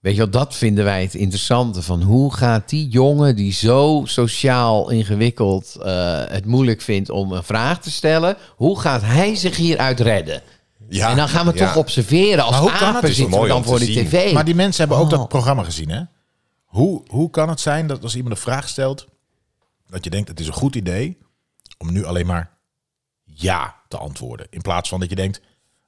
Weet je wel, dat vinden wij het interessante. Van hoe gaat die jongen die zo sociaal ingewikkeld eh, het moeilijk vindt om een vraag te stellen. Hoe gaat hij zich hieruit redden?
Ja,
en dan gaan we
ja.
toch observeren als
Maar hoe kan het? Het
apen
is
zitten we
mooi
dan
om
voor
te
de
zien.
tv.
Maar die mensen hebben ook
Oh.
dat programma gezien, hè? Hoe, hoe kan het zijn dat als iemand een vraag stelt, dat je denkt het is een goed idee om nu alleen maar ja te antwoorden. In plaats van dat je denkt,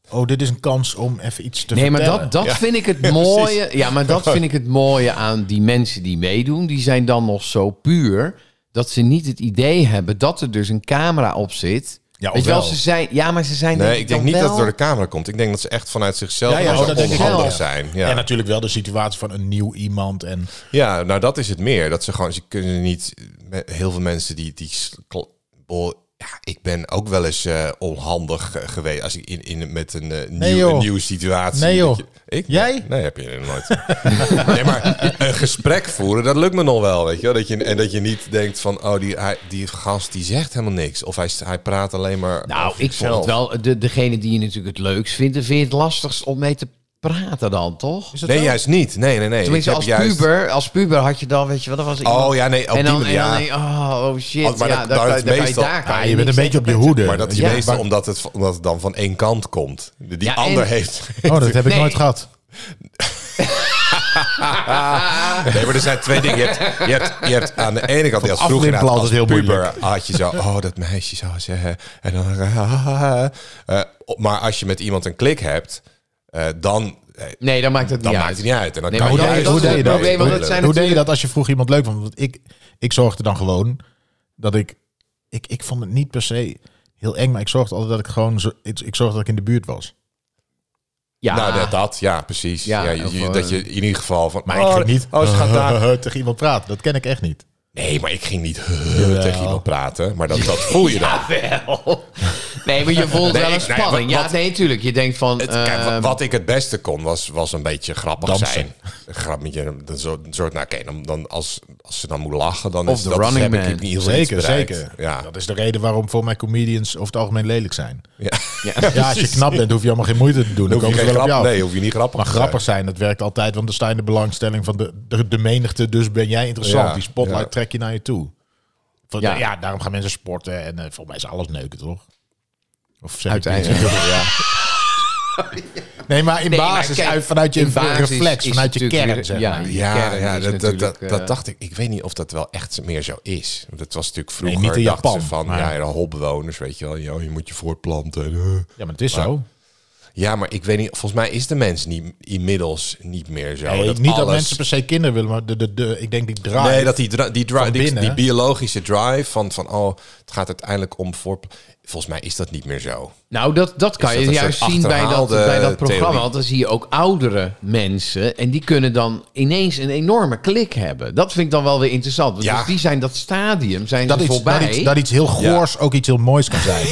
oh, dit is een kans om even iets te
nee, maar
vertellen.
dat, dat
Ja.
vind ik het
*laughs* Ja, Oh.
mooie. Ja, maar
*laughs*
dat vind ik het mooie aan die mensen die meedoen. Die zijn dan nog zo puur dat ze niet het idee hebben dat er dus een camera op zit.
Ja,
Weet
of
je wel,
wel.
ze zijn. Ja, maar ze zijn.
Nee, ik denk
dan
niet dat
wel-
het door de camera komt. Ik denk dat ze echt vanuit zichzelf
Ja, ja,
en
oh,
zo
dat denk ik
onhandig
wel, ja.
zijn. Ja.
En natuurlijk wel de situatie van een nieuw iemand. En
Ja, nou dat is het meer. Dat ze gewoon, ze kunnen niet. me- Heel veel mensen die. die s- kl- bol- ja, ik ben ook wel eens eh, onhandig eh, geweest. Als ik in, in, met een, eh, nieuw,
joh.
een nieuwe situatie.
Nee,
dat
joh.
je- ik?
Jij?
Nee, heb je nooit. *laughs* nee, maar een gesprek voeren, dat lukt me nog wel. Weet je wel? Dat je, en dat je niet denkt van. Oh, die, hij, die gast die zegt helemaal niks. Of hij, s- hij praat alleen maar.
Nou,
over
ik vond het
zichzelf.
wel. De, degene die je natuurlijk het leukst vindt, dan vind je het lastigst om mee te praten dan, toch?
dat
Nee,
zo?
juist niet. Nee, nee, nee.
Tenminste,
Ik
als
heb juist-
puber, als puber had je dan, weet je wat, dat was iemand-
Oh ja, nee. Op
en
die
dan,
manier.
en dan
ja.
denk je, oh, oh shit,
Oh, maar
ja,
dat-
daar
dat
kan-
is
daar kan je-
meestal-
daar kan
Ah, je bent een
niks
beetje op je
tegen.
hoede.
Maar dat is
Ja.
meestal
Maar-
omdat het, omdat het dan van één kant komt. Die
Ja,
ander
en- *laughs*
heeft...
Oh, dat heb ik
Nee.
nooit gehad.
Nee, maar er zijn twee dingen. Je hebt, je hebt, je hebt aan de ene kant, als vroeger
afwimpelen
inderdaad, als
altijd heel
puber,
moeilijk.
had je zo... Oh, dat meisje zou zeggen... En dan... eh, op- maar als je met iemand een klik hebt, eh, dan, eh,
Nee, dan maakt het
dan
niet
maakt
uit.
het niet uit. En dan
Nee,
kan
maar
je
dat-
juist-
dat is het
Nee,
probleem, want dat
moeilijk.
zijn-
Hoe deed je dat als je vroeg iemand leuk vond? Want ik, ik zorgde dan gewoon dat ik, ik... Ik vond het niet per se heel eng, maar ik zorgde altijd dat ik gewoon... zo- Ik, ik zorgde dat ik in de buurt was.
Ja,
Nou, dat, dat, ja, precies. Ja,
Ja,
je-
of,
je-
eh,
dat je in ieder geval van...
Maar
oh,
ik ging niet
Oh, ze gaat
*laughs*
daar...
*laughs* tegen iemand praten. Dat ken ik echt niet.
Nee, maar ik ging niet *laughs* tegen iemand praten. Maar dat, dat voel je *laughs* dan.
wel. Nee, maar je voelt
Nee,
wel een
ik- nee,
spanning.
wat-
ja,
wat-
nee, natuurlijk. Je denkt van...
Het- kijk, wa-
ehm,
wat ik het beste kon, was, was een beetje grappig
Dansen.
zijn. Een grappetje, een soort, een soort nou oké, dan, dan als, als ze dan moet lachen, dan
Of
is
The
dat
Running
heb ik
Man.
in ieder geval iets
Zeker,
bereikt.
zeker.
Ja.
Dat is de reden waarom voor mij comedians over het algemeen lelijk zijn.
*laughs* Ja.
Ja, als je knap bent, hoef je allemaal geen moeite te doen. Dan
Hoef je
komen ze
geen
wel
grap,
op jou.
nee, hoef je niet grappig
Maar
te
grappig zijn, dat werkt altijd, want er sta je in de belangstelling van de, de, de menigte. Dus ben jij interessant.
Ja,
Die spotlight
ja.
trek je naar je toe. Van,
Ja.
ja. daarom gaan mensen sporten en eh, volgens mij is alles neuken, toch? Of zeg ik
Uiteindelijk.
niet?
*laughs*
Ja. Nee, maar in
Nee, maar
basis,
kijk,
uit, vanuit je
in basis
reflex,
is
vanuit je
het natuurlijk
kern. Zeg
weer-
maar.
ja,
zijn.
die
Ja,
kern
ja
is
dat, dat, dat,
natuurlijk, eh,
dat dacht ik. Ik weet niet of dat wel echt meer zo is. Want Dat was natuurlijk vroeger.
Nee, niet in
dachten ze
Japan,
van,
maar-
ja, de holbewoners, weet je wel. joh, je moet je voortplanten. eh.
Ja, maar het is zo.
Ja, maar ik weet niet. Volgens mij is de mens niet, inmiddels niet meer zo.
Nee,
dat
niet dat
alles-
mensen per se kinderen willen, maar de, de, de, ik denk die draai.
Nee, dat die, dri- die, dri-
Van
die,
binnen.
die biologische drive van, van oh, het gaat uiteindelijk om voor. Volgens mij is dat niet meer zo.
nou, dat, dat kan
Is
je
dat een
juist
soort
zien bij dat,
achterhaalde
bij dat programma.
theorie?
Want dan zie je ook oudere mensen. En die kunnen dan ineens een enorme klik hebben. Dat vind ik dan wel weer interessant. Want
Ja.
dus die zijn dat stadium, zijn
dat
ze
iets,
voorbij.
dat, iets, dat iets
*laughs*
heel goors ook iets heel moois kan zijn.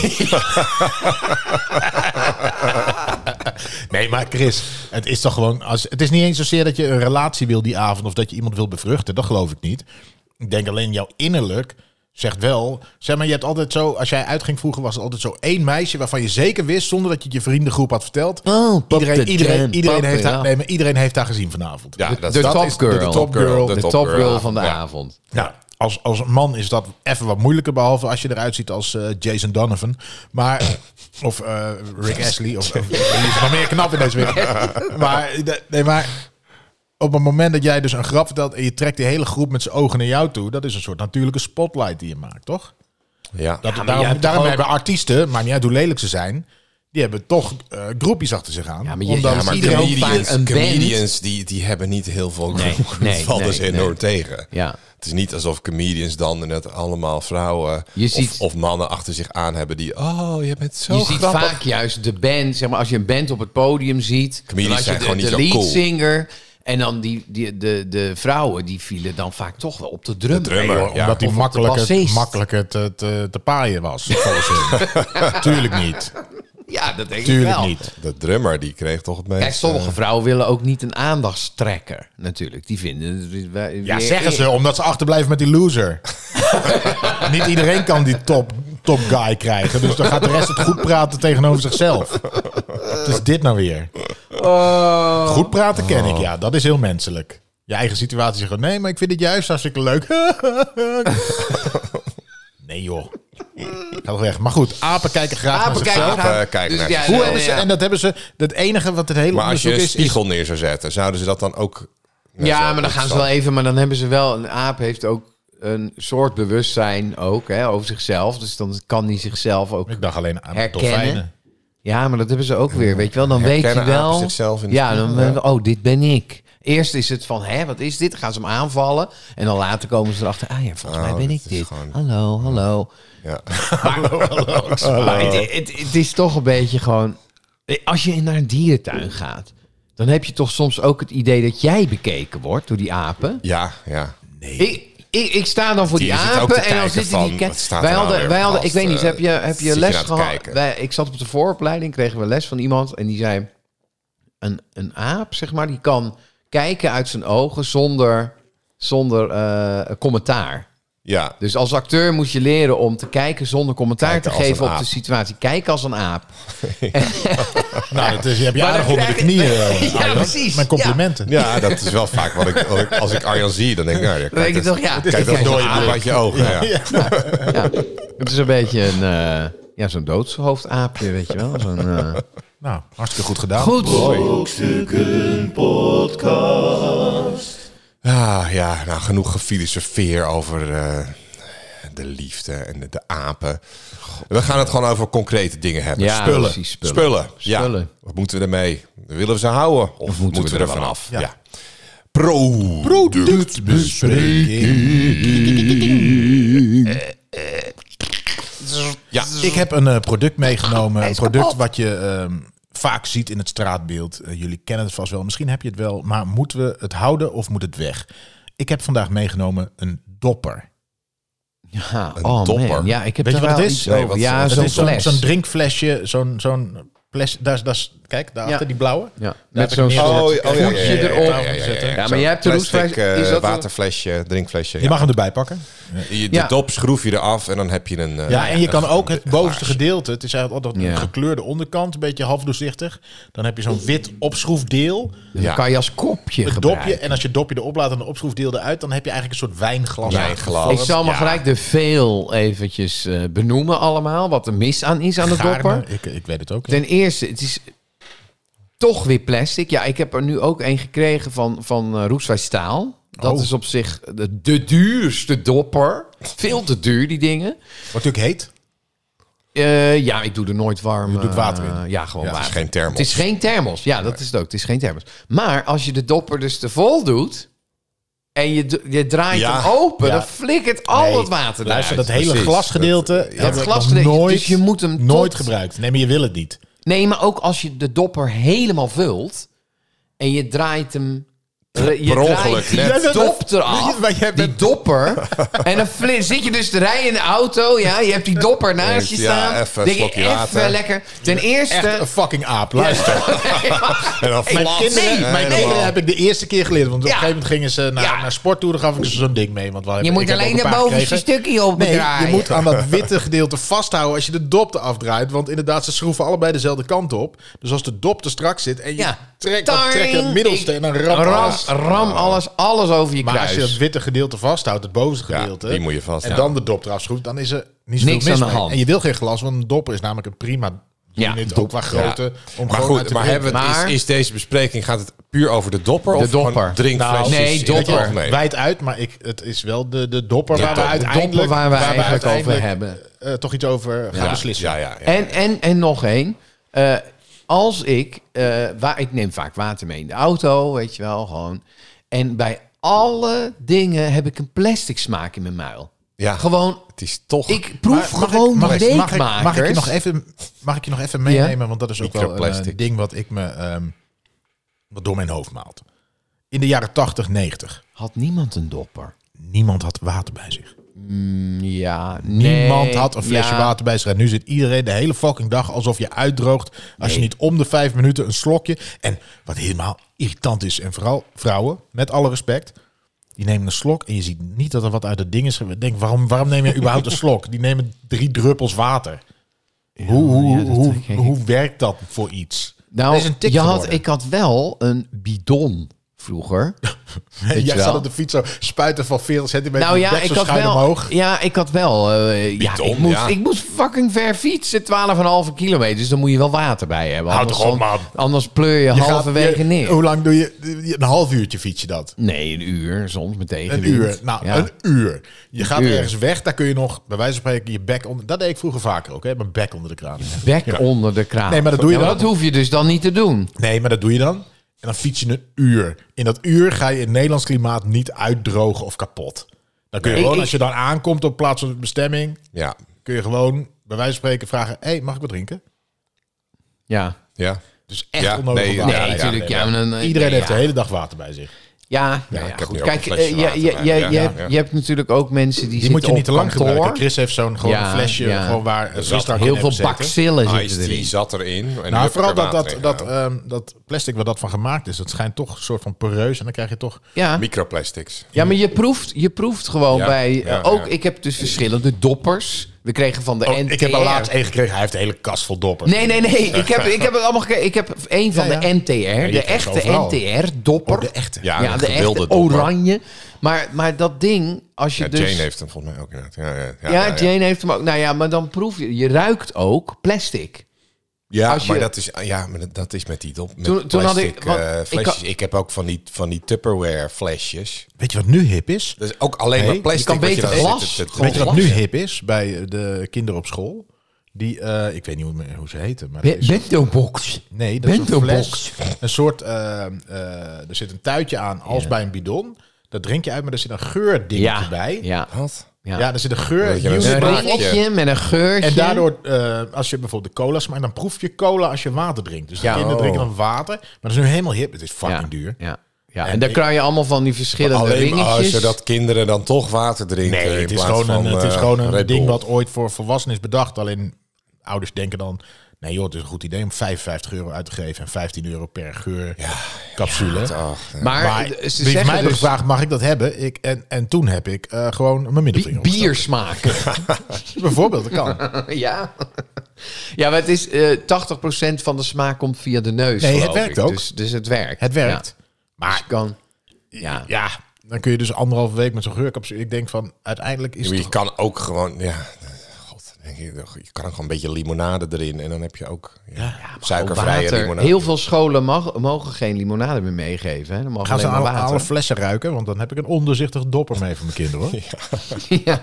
Nee, maar Chris, het is toch gewoon. Als, het is niet eens zozeer dat je een relatie wil die avond of dat je iemand wil bevruchten. Dat geloof ik niet. Ik denk alleen jouw innerlijk zegt wel. Zeg maar, je hebt altijd zo. Als jij uitging vroeger, was het altijd zo één meisje waarvan je zeker wist, zonder dat je het je vriendengroep had verteld.
Oh, Pop
iedereen,
the
iedereen,
Jam,
iedereen,
Pop,
heeft
ja.
haar, nee, maar iedereen heeft haar gezien vanavond.
Ja,
de top
is
girl.
De top girl.
De
top
topgirl
girl.
van de
Ja.
avond.
Nou, als, als man is dat even wat moeilijker, behalve als je eruit ziet als eh, Jason Donovan. Maar, *clears throat* of eh,
*laughs*
Rick Ashley, of, of- die is nog meer knap in deze wereld. Maar, de- nee, maar op het moment dat jij dus een grap vertelt en je trekt die hele groep met zijn ogen naar jou toe, dat is een soort natuurlijke spotlight die je maakt, toch?
Ja.
Dat, daarom
jij hebt
daarom
toch ook-
hebben artiesten, maar niet uit hoe lelijk ze zijn, die hebben toch eh, groepjes achter zich aan.
Ja, maar je-
omdat
ja,
Ja, maar
Iedereen ook
comedians,
vaak een band.
comedians die, die hebben niet heel veel *laughs* nee,
nee,
vallen
nee,
ze enorm
nee.
tegen.
Ja.
Het is niet alsof comedians dan net allemaal vrouwen
Je
of,
ziet-
of mannen achter zich aan hebben die... Oh, je bent zo
Je ziet
grappig.
vaak juist de band, zeg maar, als je een band op het podium ziet.
Comedians
dan had je
zijn
de,
gewoon niet
de
zo cool.
leadzanger. En dan die, die, de, de vrouwen, die vielen dan vaak toch wel op de drummer.
drummer,
Nee, hoor.
ja.
Omdat
Of
hij
op de
makkelijker,
bassist.
makkelijker te, te, te paaien was.
*laughs*
volgens hun. Tuurlijk niet.
Ja, dat denk ik
Tuurlijk
wel.
niet.
De drummer die kreeg toch het meest... eh,
Kijk, sommige vrouwen willen ook niet een aandachtstrekker, natuurlijk. Die vinden... het weer- weer-
Ja, zeggen ze, omdat ze achterblijven met die
*laughs*
loser. niet iedereen kan die top, top guy krijgen. Dus dan gaat de rest het goed praten tegenover zichzelf. Wat is dit nou weer?
Oh.
Goed praten ken ik, ja. Dat is heel menselijk. Je eigen situatie zeggen, nee, maar ik vind het juist hartstikke leuk. *laughs* nee joh. Ga toch weg. Maar goed, apen kijken graag naar
Apen
zichzelf.
kijken gaan.
eh, kijken naar
ja,
zichzelf.
Hoe
ja,
hebben ze,
ja.
en dat hebben ze, dat enige wat het hele
Maar als je
onderzoek
een
is, is...
spiegel neer zou zetten, zouden ze dat dan ook... net zo
Ja, maar dan gaan ze wel
interessant-
even. Maar dan hebben ze wel. Een aap heeft ook een soort bewustzijn ook, hè, over zichzelf. Dus dan kan hij zichzelf ook.
Ik dacht alleen aan
Herkennen.
dolfijnen.
Ja, maar dat hebben ze ook weer. Weet je wel, dan weet je
Herkennen
wel.
apen zichzelf in de
ja, dan
spiegel, ja.
oh, dit ben ik. Eerst is het van, hè, wat is dit? Dan gaan ze hem aanvallen. En dan later komen ze erachter. Ah ja, volgens mij
Oh,
ben
dit
ik
is
dit.
gewoon-
Hallo,
*laughs*
hallo.
Ja.
*laughs* Maar het, het, het is toch een beetje gewoon. Als je naar een dierentuin gaat, dan heb je toch soms ook het idee dat jij bekeken wordt door die apen.
ja, ja.
Ik, ik, ik sta dan voor die,
Die zit ook te
apen en dan
kijken
zitten die...
van,
ke-
wat staat
wij
er nou
hadden,
weer
wij hadden, ik
vast,
weet niet,
eh,
heb je, heb
zit
je
je
les
nou te
gehad?
kijken?
Wij- ik zat op de vooropleiding, kregen we les van iemand en die zei... Een, een aap, zeg maar, die kan kijken uit zijn ogen zonder, zonder eh, commentaar.
Ja,
Dus als acteur moet je leren om te kijken zonder commentaar
Kijken
te
als
geven
een
op de
aap.
situatie. Kijk als een aap.
Nou, dat is, je hebt je
Maar
aardig
dan
onder de
krijg je-
knieën. eh,
*laughs* Ja,
Arjan.
precies.
Mijn complimenten.
Ja, dat is wel vaak wat ik, wat ik- als ik Arjan zie, dan denk ik, nou, ja,
Dan denk je toch, ja.
kijk dat
kijk,
nooit
zo'n
aan
aap.
uit je ogen. Ja.
Ja, het is een beetje een, eh, ja, zo'n doodshoofdaapje, weet je wel. Zo'n, eh,
Nou, hartstikke goed gedaan.
Goed.
Brokstukken Podcast.
Ah, ja, nou genoeg gefilosofeer over eh, de liefde en de, de apen. We gaan het gewoon over concrete dingen hebben.
Ja,
spullen.
precies, spullen.
ja.
Spullen.
Wat moeten we ermee? Willen we ze houden? Of moeten, we er vanaf?
Ja.
Ja. Pro. Ja,
Ik heb een eh, product meegenomen. Een product wat je ehm, vaak ziet in het straatbeeld. Eh, jullie kennen het vast wel. Misschien heb je het wel. Maar moeten we het houden of moet het weg? Ik heb vandaag meegenomen een dopper.
Ja,
Een
oh
dopper.
man. Ja, ik heb
Weet je
daar
wat
wel
het is?
iets
Nee,
over.
wat-
ja,
het
Het
zo'n
is zo'n
fles.
zo'n drinkflesje. Zo'n zo'n fles. Daar, is- daar, is- kijk, daarachter,
Ja.
die blauwe.
ja,
Daar
met
heb ik
zo'n
hem neergezet.
soort
oh, ja, ja,
voetje
ja, ja,
erop.
ja, ja, ja, ja.
Ja, maar jij hebt de
Plastic
roestvrijs- is
eh,
dat een-
waterflesje, drinkflesje.
Je mag hem erbij pakken.
Je, de
Ja.
dop schroef je eraf en dan heb je een... eh,
Ja, en je kan ook het
een
bovenste
glaasje.
gedeelte. Het is eigenlijk altijd een
Ja.
gekleurde onderkant, een beetje half doorzichtig. Dan heb je zo'n wit opschroefdeel,
Dan
Ja.
kan je als kopje
het
gebruiken.
dopje. En als je het dopje erop laat en de opschroefdeel eruit, dan heb je eigenlijk een soort wijnglas.
Ja, glas.
Ik zal maar
Ja.
gelijk de veel eventjes eh, benoemen allemaal. Wat er mis aan is aan de
Gaarne.
dopper.
Ik, ik weet het ook. ja.
Ten eerste, het is toch weer plastic. Ja, ik heb er nu ook een gekregen van, van eh, Roestwijk Staal. Dat
Oh.
is op zich de, de duurste dopper. Veel te duur, die dingen.
Wordt natuurlijk heet.
Eh, ja, ik doe er nooit warm. Je
doet water in.
ja, gewoon
Ja,
Het is
het
water.
geen thermos.
Het is geen thermos. Ja, dat is het ook. Het is geen thermos. Maar als je de dopper dus te vol doet... en je, do- je draait
Ja.
hem open...
Ja.
dan flikkert al
Nee,
het water
Luister, dat
eruit.
hele
precies.
glasgedeelte
Dat-
heb ik
glasgedeelte,
nog nooit,
dus je moet hem
nooit
tot-
gebruikt. Nee, maar je wil het niet.
Nee, maar ook als je de dopper helemaal vult... en je draait hem eh, Je
per
draait
ongeluk,
die
net.
Jij bent-
dop eraf.
*laughs* Maar jij
Die
bent-
dopper.
*laughs*
en dan fli- zit je dus te rijden in de auto. Ja, je hebt die dopper naast je
Denk je, ja,
staan.
even een
Denk je,
slokje water.
even lekker. Ten
Echt een
*laughs* eerste...
fucking aap, luister.
En dan
Mijn
flats.
kinderen,
Nee,
mijn
helemaal.
kinderen heb ik de eerste keer geleerd. Want op
Ja.
een gegeven moment gingen ze naar,
Ja.
naar sporttoeren, gaf ik ze zo'n ding mee. Want we
Je
hebben- ik
moet
heb
alleen
ook een
dat
paar
bovenste
gekregen.
stukje
Nee,
opdraaien.
je moet aan dat witte gedeelte vasthouden als je de dop eraf draait. Want inderdaad, ze schroeven allebei dezelfde kant op. Dus als de dop er strak zit en je
Ja.
trekt dat
Taring.
trekken het middelste en dan ramt
ram,
alles.
ram alles, alles over je
Maar
kruis.
als je dat witte gedeelte vasthoudt, het bovenste
Ja,
gedeelte.
die moet je
En
vasthouden.
dan de dop eraf schroeft, dan is er niet zoveel
Niks
mis
aan de
mee.
hand.
En je wil geen glas, want een dop is namelijk een prima
Ja,
unit,
dop.
ook qua grootte. Om
Maar
gewoon uit
goed,
te
maar
drinken.
hebben we het-
Maar-
is, is deze bespreking gaat het puur over de dopper of gewoon
dopper.
drinkflesjes?
Nou, nee,
in het
dopper.
algemeen?
Wijd uit, maar ik, het is wel de, de dopper
Ja,
waar we
de
uiteindelijk...
dopper waar we eigenlijk over
uiteindelijk,
hebben.
eh, toch iets over gaan
ja,
beslissen.
Ja, ja, ja.
En, en, en nog één. Eh, als ik, eh, wa- ik neem vaak water mee in de auto, weet je wel, gewoon. En bij alle dingen heb ik een plastic smaak in mijn muil.
Ja.
Gewoon,
Het is toch...
ik
Maar
proef
mag ik-
gewoon
mag
de
ik- mag ik- Mag ik je
weekmakers.
nog even, mag ik je nog even meenemen? Want dat is ook wel een
Microplastic.
eh, ding wat ik me... ehm, wat door mijn hoofd maalt. In de jaren 80, 90.
Had niemand een dopper?
Niemand had water bij zich.
Ja,
Niemand
nee,
had een flesje
ja.
water bij zich. En nu zit iedereen de hele fucking dag alsof je uitdroogt. Als je niet om de vijf minuten een slokje. En wat helemaal irritant is. En vooral vrouwen, met alle respect. Die nemen een slok en je ziet niet dat er wat uit het ding is. ge- Denk, waarom, waarom neem
*laughs*
je überhaupt een slok? Die nemen drie druppels water. hoe, hoe,
ja, dat
hoe,
trek ik.
hoe werkt dat voor iets?
Nou,
Dat is een tik
je had,
geworden.
ik had wel een bidon vroeger. weet je
*laughs* Jij
wel.
zat op de fiets zo spuiten van 40 centimeter.
Nou ja,
deksel
ik had
schuin
wel.
omhoog.
Ja, ik had wel. eh, ja,
Bidon,
ik moest,
ja.
ik moest fucking ver fietsen, 12,5 kilometer. Dus dan moet je wel water bij hebben.
Houd
Anders
toch op,
dan-
man.
Anders pleur je,
Je gaat-
halverwege
je-
neer.
Hoe lang doe je? Een half uurtje fiets je dat.
Nee, een uur soms met tegenwind.
Een uur. Nou,
Ja.
een uur. Je gaat
uur.
ergens weg, daar kun je nog, bij wijze van spreken, je bek onder... Dat deed ik vroeger vaker ook, hè? Mijn bek onder de kraan.
Bek onder de kraan.
Nee, maar dat doe je
Ja,
dan.
Dat hoef je dus dan niet te doen.
Nee, maar dat doe je dan. En dan fiets je een uur. In dat uur ga je het Nederlands klimaat niet uitdrogen of kapot. Dan kun je
Nee,
gewoon,
ik-
als je dan aankomt op plaats van bestemming,
Ja,
kun je gewoon, bij wijze van spreken, vragen... Hé, hey, mag ik wat drinken?
Ja.
ja.
Dus echt
Ja,
onnodig.
nee,
op
Nee,
ja,
water.
natuurlijk. Ja, maar dan-
Iedereen
nee,
heeft
ja.
de hele dag water bij zich.
Ja, ja,
ik heb
goed.
nu ook
Kijk,
een flesje
eh,
water
je, je,
bij me.
je,
Ja,
je,
ja.
hebt- je hebt natuurlijk ook mensen die,
Die moet je
zitten
niet te
op
lang
kantoor.
gebruiken. Chris heeft zo'n gewoon
Ja,
een flesje
ja.
gewoon waar
zat
frisdrank in
Heel
heeft
veel
gezeten.
bakcillen
Ice
zitten
tea
erin.
zat erin. En hup,
Nou,
er
vooral dat,
water
dat,
in.
dat,
Ja.
ehm, dat plastic waar dat van gemaakt is, dat schijnt toch een soort van poreus. En dan krijg je toch...
Ja.
Microplastics.
Ja, maar je proeft, je proeft gewoon
Ja,
bij... eh,
ja,
ook,
ja.
ik heb dus verschillende doppers. We kregen van de
Oh,
NTR...
ik heb er laatst één gekregen, hij heeft de hele kast vol doppers.
Nee, nee, nee. Ik heb, ik heb het allemaal gekeken. Ik heb één van
Ja, ja.
de NTR.
je
de
krijgt
echte
overal.
NTR-dopper.
Oh, de echte.
Ja,
ja,
een
de echte
gewilde dopper.
oranje. Maar, maar dat ding, als je
Ja,
dus...
Jane heeft hem volgens mij ook inderdaad. Ja, ja, ja,
ja,
ja, ja.
Jane heeft hem ook. Nou ja, maar dan proef je... Je ruikt ook plastic.
Ja,
Als je-
maar dat is, ja, maar dat- dat is met die dop, met
Toen- toen had ik-
plastic
want
eh,
ik
flesjes.
had-
Ik, heb ook van die, van die Tupperware flesjes.
Weet je wat nu hip is?
Dat is ook alleen
Nee,
maar plastic.
je kan
wat
beter
daar zit
glas.
te- te- te-
Weet je wat nu
lachen.
hip is bij de kinderen op school? Die, eh, ik weet niet hoe, hoe ze heten, maar... dat
Be-
is-
Bento-box.
Nee, dat is een
Bento
fles. Een soort, eh, eh, er zit een tuitje aan als bij een bidon. Dat drink je uit, maar er zit een geurdingetje
Ja,
bij. Ja.
ja.
Wat?
ja.
er zit een geur.
Dat je een
unit
Een
smaakje.
box.
ringetje met een geurtje.
En daardoor, eh, als je bijvoorbeeld de cola smaakt, dan proef je cola als je water drinkt. Dus de
Ja.
kinderen
Oh.
drinken dan water. Maar dat is nu helemaal hip. Het is fucking
ja.
duur.
Ja. Ja, en,
En
dan
ik- oh,
krijg je allemaal van die verschillende
Alleen maar
ringetjes.
zodat kinderen dan toch water drinken.
Nee,
in
het is
plaats
gewoon een,
van,
het is
eh,
gewoon een
Red Bull.
ding wat ooit voor volwassenen is bedacht. Alleen ouders denken dan, nee joh, het is een goed idee om 55 euro uit te geven en 15 euro per geurcapsule.
Ach, ja.
Maar,
maar
ze
wie
zeggen
heeft mij
dus
gevraagd, mag ik dat hebben? Ik, en, en toen heb ik eh, gewoon mijn middelvinger
bi- biersmaak.
opgestoken. Bijvoorbeeld, dat kan.
*laughs* ja. ja, maar het is eh 80% van de smaak komt via de neus.
Nee, het
geloof
werkt
ik.
ook.
Dus, dus het werkt.
Het werkt.
Ja. Dus je
Maar
kan. Ja.
ja, dan kun je dus anderhalve week met zo'n geurcapsule. Ik denk van, uiteindelijk is
Ja, maar
het
je kan ook gewoon, ja, god, dan denk je, toch, je kan ook gewoon een beetje limonade erin en dan heb je ook ja, suikervrije
Water.
limonade.
Heel veel scholen mag- mogen geen limonade meer meegeven. Hè. Dan mogen
Gaan ze
alleen
alle,
maar water.
alle flessen ruiken? Want dan heb ik een onderzichtig dopper mee voor mijn kinderen. Hoor.
*laughs* ja.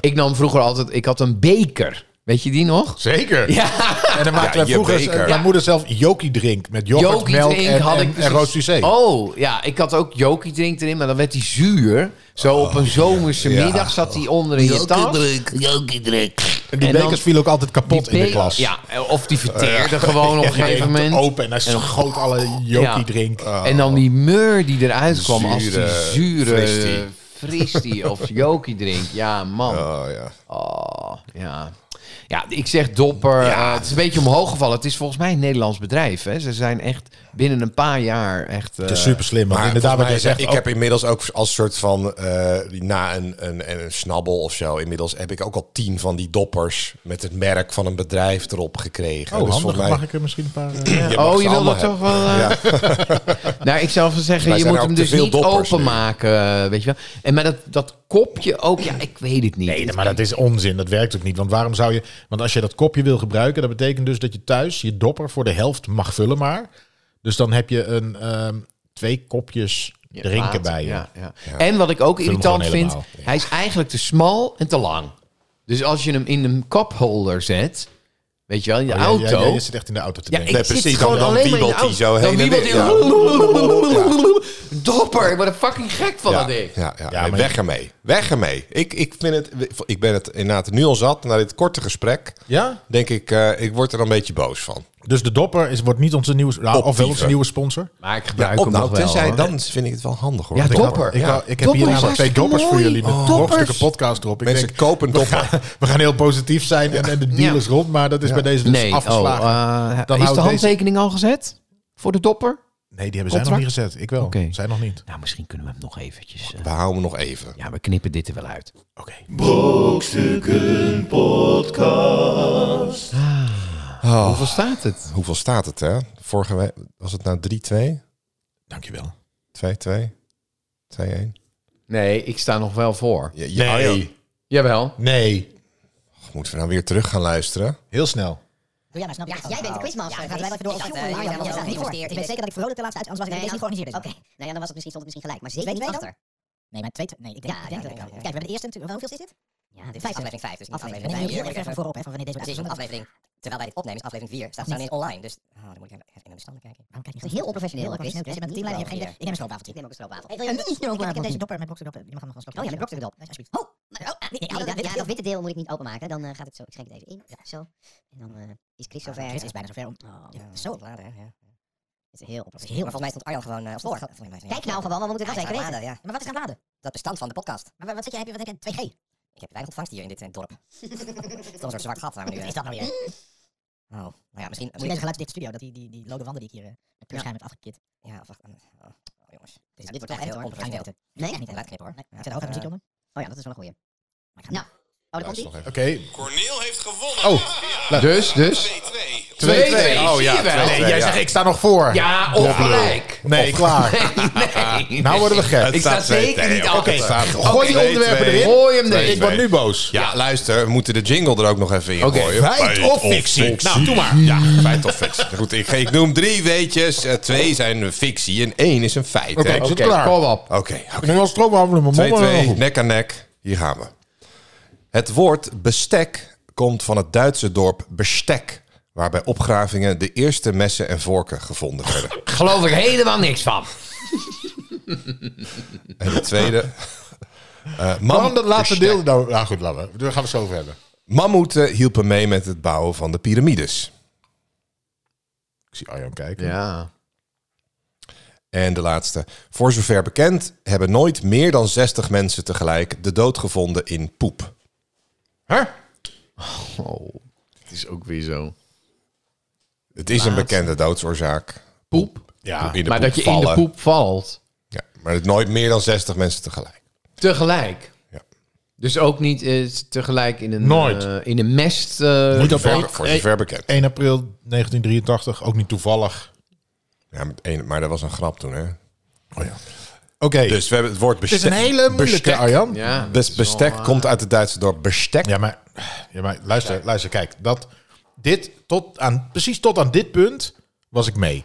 Ik nam vroeger altijd. Ik had een beker. Weet je die nog?
Zeker.
Ja.
En dan
Ja,
maakten wij
je
vroeger...
beker.
Mijn moeder zelf jokie drink met yoghurt,
Jokie
melk
drink
en,
had
en,
ik dus
en
een-
rood sucé.
Oh, ja, ik had ook Jokie drink erin, maar dan werd die
Oh,
zuur. Zo op een zomerse
Ja.
middag zat die onder in je tas.
Jokie drink, jokie drink.
En die
En dan-
bekers vielen ook altijd kapot
Die
in de
be-
klas.
Ja, of die verteerde gewoon op een
*laughs* Ja,
gegeven
je deed het
moment.
Open en hij schoot alle
Ja. Oh.
jokie drink.
En dan die meur die eruit kwam als die
Zure
zure
fristie.
fristie
*laughs*
of jokie drinkt. Ja, man.
Oh ja.
Oh, ja. Ja, ik zeg dopper. eh, het is een beetje omhoog gevallen. Het is volgens mij een Nederlands bedrijf. Hè. Ze zijn echt binnen een paar jaar echt... eh,
Het is super slim. Maar
Maar
inderdaad, wat
volgens
je
mij,
zegt,
ik
ook-
heb inmiddels ook als soort van, eh, die- na een, een, een, een snabbel of zo, inmiddels heb ik ook al tien van die doppers met het merk van een bedrijf erop gekregen. Dus
Oh, handig.
volgens mij-
Mag ik er misschien een paar... eh,
Je mag
oh,
ze
je wil
allemaal
dat
hebben.
toch wel... eh, *laughs* nou, ik zou van zeggen,
Wij
je
zijn er
moet hem
ook te
dus
veel
niet
doppers nu.
openmaken. eh, Weet je wel. En maar dat, dat kopje ook, ja, ik weet het niet.
Nee, maar dat is onzin. Dat werkt ook niet. Want waarom zou je... Want als je dat kopje wil gebruiken, dat betekent dus dat je thuis je dopper voor de helft mag vullen maar. Dus dan heb je een, ehm, twee kopjes
Ja,
drinken
water,
bij je.
ja, ja. En wat ik ook
hem
irritant
gewoon
vind,
helemaal.
hij is eigenlijk te smal en te lang. Dus als je hem in een kopholder zet, weet je wel, in de
Oh, jij-
auto.
jij- jij zit echt in de auto te
Ja, ik
denken.
Nee,
zit
precies,
gewoon
dan- dan
alleen maar in de
wiebelt hij zo
auto. Dan
heen en
wiebelt
weer.
hij. Dopper, ik word er fucking gek van dat
Ja,
ding.
ja, ja.
Ja,
Nee,
maar-
weg ermee. Weg ermee. Ik, ik, vind het, ik ben het inderdaad nu al zat, na dit korte gesprek,
Ja?
denk ik, eh, ik word er een beetje boos van.
Dus de dopper is, wordt niet onze nieuwe... Nou, of wel
Optieven.
onze nieuwe sponsor.
Maar ik gebruik
Ja,
hem
op nou,
nog wel.
tenzij,
hoor.
dan vind ik het wel handig hoor.
Ja,
Want ik-
dopper.
Ik,
Ja.
wou- ik heb hier
is
namelijk twee
hartstikke
doppers voor
mooi.
jullie met
Oh.
de
Doppers.
hoogstukken podcast erop. Ik
Mensen
denk, *laughs*
kopen een
we
dopper.
gaan, we gaan heel positief zijn en, en de deal
Ja.
is rond, maar dat is bij deze dus
Nee, oh,
afgeslagen.
eh,
Dan
is
houdt
de
deze-
handtekening al gezet voor de dopper?
nee, die hebben zij nog niet
contract?
gezet. Ik wel.
Oké.
Zij nog niet.
Nou, misschien kunnen we hem nog eventjes... eh,
We houden hem nog even.
ja, we knippen dit er wel uit.
Oké.
Brokstukken Podcast.
Hoeveel staat het?
Hoeveel staat het hè? Vorige week was het nou 3-2?
Dankjewel.
2-2? 2-1?
Nee, ik sta nog wel voor.
Ja, ja, oh, ja.
Nee.
Jawel.
Nee.
Moeten we nou weer terug gaan luisteren?
Heel snel.
Doe jij maar, snap je? Jij bent de quizmaster. Gaat wij wel even door.
Ik
over-
dacht, eh,
Oh, ja,
jij
ja,
was
ja,
zelf niet
ja, ja, ja.
geïnvesteerd.
Ik weet zeker dat ik vrolijk de laatste uit, anders was ik
Nee,
deze niet
dan-
georganiseerd.
Oké, nou ja, dan was het misschien, stond het misschien gelijk. Maar
Weet
zeker
je
niet
wel
achter.
Nee, maar twee... Nee, ik denk,
Ja,
ik
ja,
denk dat
ja,
ik
ja.
wel. Kijk, we hebben de eerste natuurlijk... Hoeveel is dit?
Ja, dit is aflevering 5, dus niet
Nee,
aflevering
nee,
5.
heel erg even voorop, hè, van wanneer deze
Precies, want
uitgezonden wordt.
aflevering, terwijl wij dit opnemen, is aflevering 4. Staat staan
Niet.
ineens online, dus... Oh, dan moet ik even even naar de standen kijken.
Waarom kijk je
Heel
niet?
onprofessioneel,
Heel
ik wist.
onprofessioneel. Ik heb een teamleider, ik heb geen idee. Ik neem een stroopwafeltje.
Ik neem ook een stroopwafel.
Een
Ik heb-
Ik heb
Ik
deze
heb
dopper met brokstukdop. Je mag hem nog wel
Oh ja, met brokstukdop.
Nee, alsjeblieft.
Oh, maar- oh, ah, nee,
Nee,
ja, dat-
dat- ja,
ja,
dat
dat witte deel moet ik niet openmaken. Dan eh, gaat het zo. Ik schenk het even in. Zo. En dan eh, is Chris
Zover.
zover.
Het is Ah, bijna zover om...
Oh,
Ja,
ja,
zo.
zo. Laden, hè, ja.
Het is heel
Maar
onprofessioneel.
volgens mij stond Arjan gewoon eh, op voor.
Kijk nou gewoon, want we moeten het wel zeker weten.
laden, ja.
Maar wat is gaan laden?
Dat bestand van de podcast.
Maar wa- wat zit jij, heb je, wat heb je, 2G?
Ik heb weinig ontvangst hier in dit eh,
*laughs*
dorp. Het is wel een soort zwart gat waar we nu...
Wat
eh,
is dat nou weer?
Oh, nou ja, misschien...
Misschien deze geluidsdichte studio, dat die, die, die lode wanden die ik hier eh, met peurschuim heb afgekit. Dus
Ja, of wacht. eh, Oh, oh, jongens. Dit,
Ja,
dit wordt echt heel onprofessioneel.
Nee,
Echt
niet
niet.
echt.
Laat knippen hoor.
Nee,
Ja,
Zet er hoger
eh,
muziek onder. Oh ja, dat is wel een goeie. Maar ik ga-
Nou,
oh, daar komt
Luister nog
ie.
even.
Oké.
Corneel heeft gewonnen.
Oh.
Dus, dus...
2-2.
Twee, twee.
Oh ja,
Zie je wel.
2-2.
Nee, jij
ja.
zegt ik sta nog voor.
Ja, ongelijk.
Nee, klaar.
*laughs* Nee.
Nou worden we gek.
Het
Ik sta
staat 2-2,
zeker niet
joh.
achter.
Het staat-
Gooi die
Twee,
onderwerpen
twee.
erin.
Hoor je hem
Twee,
niet.
Ik word
twee.
nu boos.
Ja, luister, we moeten de jingle er ook nog even in
Oké,
gooien.
Feit of fictie? Nou, doe maar.
Ja, feit of fictie. Goed, ik, ik noem drie weetjes. Eh, twee zijn fictie en één is een feit. hè?
Oké,
Oké,
zit klaar.
kom op.
oké.
Ik ben wel stroopwafel in mijn mond.
2-2, nek aan nek. Hier gaan we. Het woord bestek komt van het Duitse dorp Bestek, waar bij opgravingen de eerste messen en vorken gevonden werden.
Geloof ik helemaal niks van.
En de tweede. *laughs* eh, mam-
Waarom dat laatste deel? Nou, nou goed, laten we. Daar gaan we het zo over hebben.
Mammoeten hielpen mee met het bouwen van de piramides.
Ik zie Arjan kijken.
Ja.
En de laatste. Voor zover bekend hebben nooit meer dan 60 mensen tegelijk de dood gevonden in poep.
Hè?
Oh, het is ook weer zo.
Het is een bekende doodsoorzaak.
Poep.
Ja.
In de
Maar
poep
dat je in
vallen.
de poep valt.
Ja, maar het nooit meer dan 60 mensen tegelijk.
Tegelijk.
Ja.
Dus ook niet eh, tegelijk in een,
Nooit.
eh, in een mest. eh,
Niet op
Voor,
één-
voor
één-
zover bekend.
1 april 1983, ook niet toevallig.
Ja, met één- maar dat was een grap toen, hè?
Oh ja. Oké,
Dus we hebben het woord
het
bestek.
is een hele moeilijke,
bestek.
Arjan.
ja.
Bes- bestek komt uit het Duitse dorp Bestek.
Ja, maar, ja, maar luister, luister, kijk. Dat, dit, tot aan, precies tot aan dit punt was ik mee.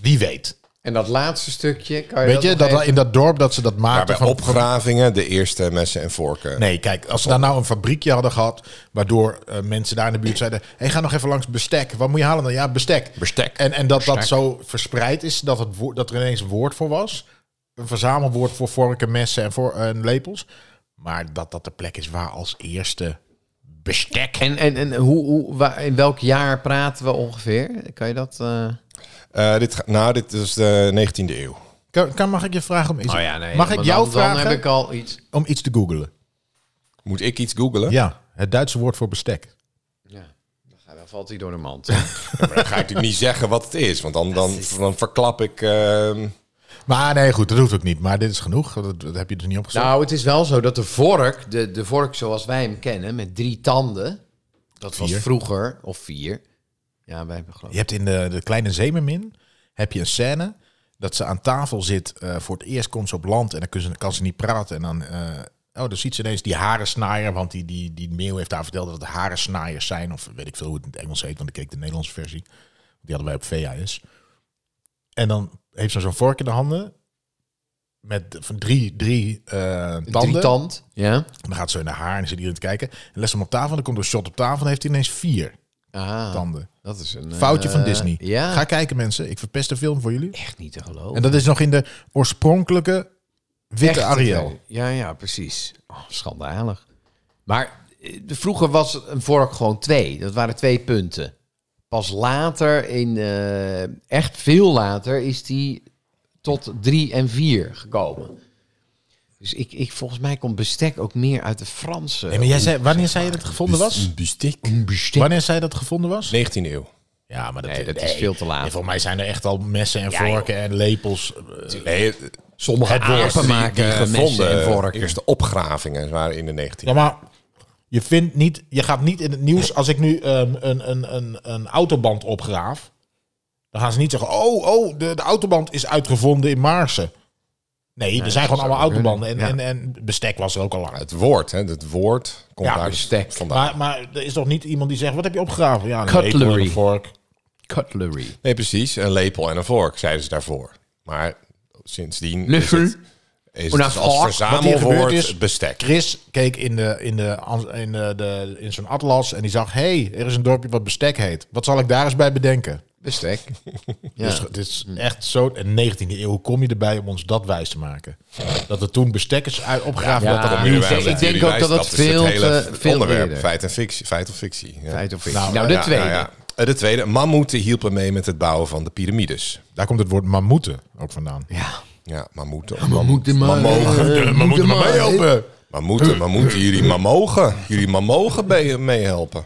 Wie weet.
En dat laatste stukje. Kan je
Weet je,
nog
dat
even-
in dat dorp dat ze dat
Maar
maakten
bij
van
opgravingen de eerste messen en vorken.
Nee, kijk, als ze daar nou een fabriekje hadden gehad, waardoor eh, mensen daar in de buurt zeiden: hey, ga nog even langs bestek. Wat moet je halen dan? Ja, bestek.
Bestek.
En, en dat dat zo verspreid is, dat, het woord, dat er ineens een woord voor was. Een verzamelwoord voor vorken, messen en, voor, en lepels. Maar dat dat de plek is waar als eerste Bestek.
En, en, en hoe, hoe, waar- in welk jaar praten we ongeveer? Kan je dat... eh,
Eh, dit, ga- nou, dit is de 19e eeuw.
Kan, kan- mag ik je vragen om iets,
Oh ja, nee,
mag
maar
ik jou
dan,
vragen
Dan heb ik al iets.
om iets te googlen?
Moet ik iets googlen?
Ja, het Duitse woord voor bestek.
Ja, dan, valt hij door de mand.
Maar dan ga ik natuurlijk niet zeggen wat het is, want dan, dan, dan verklap ik... ehm,
Maar nee, goed, dat hoeft ook niet. Maar dit is genoeg. Dat, dat heb je dus niet
*laughs*
opgezocht.
nou, het is wel zo dat de vork, de, de vork zoals wij hem kennen, met drie tanden, dat was
Vier.
vroeger, of vier. Ja, wij hebben geloof
Je hebt in de, de Kleine Zeemermin heb je een scène dat ze aan tafel zit. eh, voor het eerst komt ze op land en dan kan ze, kan ze niet praten. En dan, eh, oh, dan ziet ze ineens die harensnaaier. Want die, die, die meeuw heeft haar verteld dat het harensnaaiers zijn. Of weet ik veel hoe het in het Engels heet, want ik keek de Nederlandse versie. Die hadden wij op VHS. En dan heeft ze zo'n vork in de handen. Met van drie, drie eh, tanden.
Drie tand. Ja.
En dan gaat ze in haar haar en zit iedereen te kijken. En les hem op tafel. En dan komt er een shot op tafel. En dan heeft hij ineens vier
Ah,
tanden.
dat is een...
Foutje van
eh,
Disney.
Ja,
Ga kijken, mensen. Ik verpest de film voor jullie.
echt niet te geloven.
En dat is nog in de oorspronkelijke witte
Echt, eh,
Ariel.
Ja, ja, precies. Oh, schandalig. Maar eh, vroeger was een vork gewoon twee. Dat waren twee punten. Pas later, in, eh, echt veel later, is die tot drie en vier gekomen. Dus ik, ik, volgens mij komt bestek ook meer uit de Franse.
Nee, maar jij zei, wanneer zei je dat het gevonden was?
Bustik?
bestek.
Wanneer zei je dat het gevonden was?
19e eeuw.
Ja, maar dat,
Nee, dat is veel te laat.
Nee, volgens mij zijn er echt al messen en vorken en lepels. eh,
Nee, sommige
apen maken gemessen Eh, en vorken.
eh, Eerste opgravingen waren in de 19e
Ja, maar je, vindt niet, je gaat niet in het nieuws... Als ik nu ehm, een, een, een, een autoband opgraaf... dan gaan ze niet zeggen... oh, oh de, de autoband is uitgevonden in Maarsen. Nee, er zijn gewoon allemaal
kunnen.
autobanden. En,
Ja.
en, en bestek was er ook al lang.
Het woord, hè? Het woord komt
Ja,
daar
bestek.
vandaan.
Maar, maar er is toch niet iemand die zegt... wat heb je opgegraven? Ja, een
Cutlery.
lepel en een vork.
Cutlery.
Nee, precies. Een lepel en een vork, zeiden ze daarvoor. Maar sindsdien is
Löffel.
het, is het
Een
dus als
vork.
Wat hier
verzamelwoord
gebeurd is-
bestek.
Chris keek in, de, in, de, ans- in, de, de, in zo'n atlas en die zag... hey, er is een dorpje wat bestek heet. Wat zal ik daar eens bij bedenken?
Bestek. ja.
Dus het is echt zo... En 19e eeuw, hoe kom je erbij om ons dat wijs te maken? Dat er toen bestek is uit- opgegraven.
Ja,
dat er
kom
een
je
muur
erbij
was.
om Ik denk ook dat het
is
veel
hele
te- veel
onderwerp,
eerder.
feit, en fictie, feit of fictie. ja.
Feit of fictie.
Nou,
Nou, de
Ja,
tweede.
nou ja. Eh, De tweede, mammoeten hielpen mee met het bouwen van de piramides.
Daar komt het woord mammoeten ook vandaan.
Ja.
Ja, mammoeten.
Mammoeten, maar-
Mammogen.
eh, mammoeten maar helpen.
Mammoeten, mammoeten, jullie mammogen. Jullie mammogen mee- meehelpen.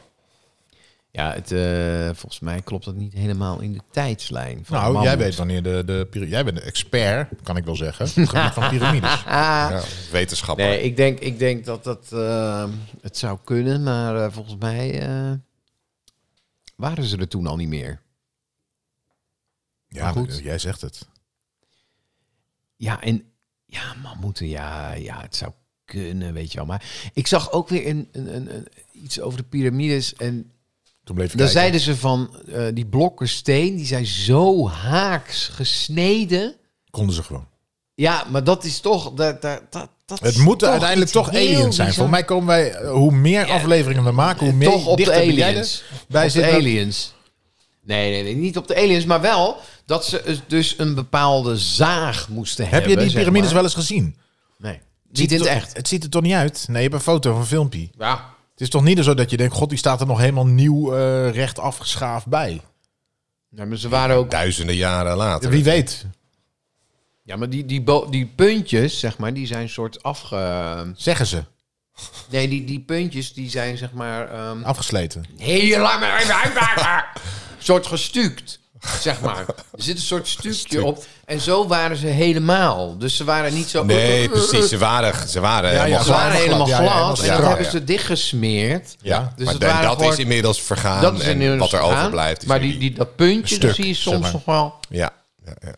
Ja, het, eh, volgens mij klopt dat niet helemaal in de tijdslijn. Van
Nou, jij
mammoet.
weet wanneer de, de... pyra- Jij bent een expert, kan ik wel zeggen. op het gebied van
*laughs*
piramides.
Ja, wetenschapper.
Nee, ik denk, ik denk dat dat, eh, het zou kunnen, maar eh, volgens mij eh, waren ze er toen al niet meer.
Ja,
Maar goed.
eh, jij zegt het.
Ja, en ja, mammoeten, ja, ja, het zou kunnen, weet je wel. Maar ik zag ook weer een, een, een, een- iets over de piramides. En
Toen bleef ik
daar
kijken.
zeiden ze van eh, die blokken steen, die zijn zo haaks gesneden.
Konden ze gewoon.
Ja, maar dat is toch. Dat, dat, dat, dat
Het
is
moet
toch
uiteindelijk
iets
toch
heel
aliens
bizar.
zijn.
Eh,
Voor mij komen wij, eh, hoe meer afleveringen we maken, hoe meer
toch op de
dichter ben jij
aliens.
er- Wij
Op de
zitten
aliens. Nee, nee, nee, niet op de aliens, maar wel dat ze dus een bepaalde zaag moesten
Heb
hebben.
je die
zeg
piramides
maar.
wel eens gezien?
Nee, niet in het
toch-
echt.
Het ziet er toch niet uit? Nee, je hebt een foto of een filmpje.
Ja.
Het is toch niet zo dat je denkt, god, die staat er nog helemaal nieuw eh, recht afgeschaafd bij.
Nee, maar ze waren ook.
Duizenden jaren later.
Wie weet.
Ja, maar die, die, bo- die puntjes, zeg maar, die zijn soort afge.
Zeggen ze.
Nee, die, die puntjes, die zijn zeg maar. ehm
Afgesleten.
heel lang maar even uitmaken.
*laughs*
soort gestuukt, zeg maar. Er zit een soort stukje op. En zo waren ze helemaal. Dus ze waren niet zo.
Nee, precies. Ze waren, ze waren
ja,
helemaal
Ah Ze waren
glad.
helemaal
Ja, ja, helemaal
glad. En dat
strak.
hebben ze dichtgesmeerd.
Ja,
Dus
maar
het
da-
waren
dat
gewoon-
is inmiddels vergaan.
Dat is
en
inmiddels
wat er
gedaan.
overblijft. Is
Maar
nu
die, die, dat puntje,
Stuk,
dat zie je soms
zeg maar.
nog wel.
Ja, ja, ja.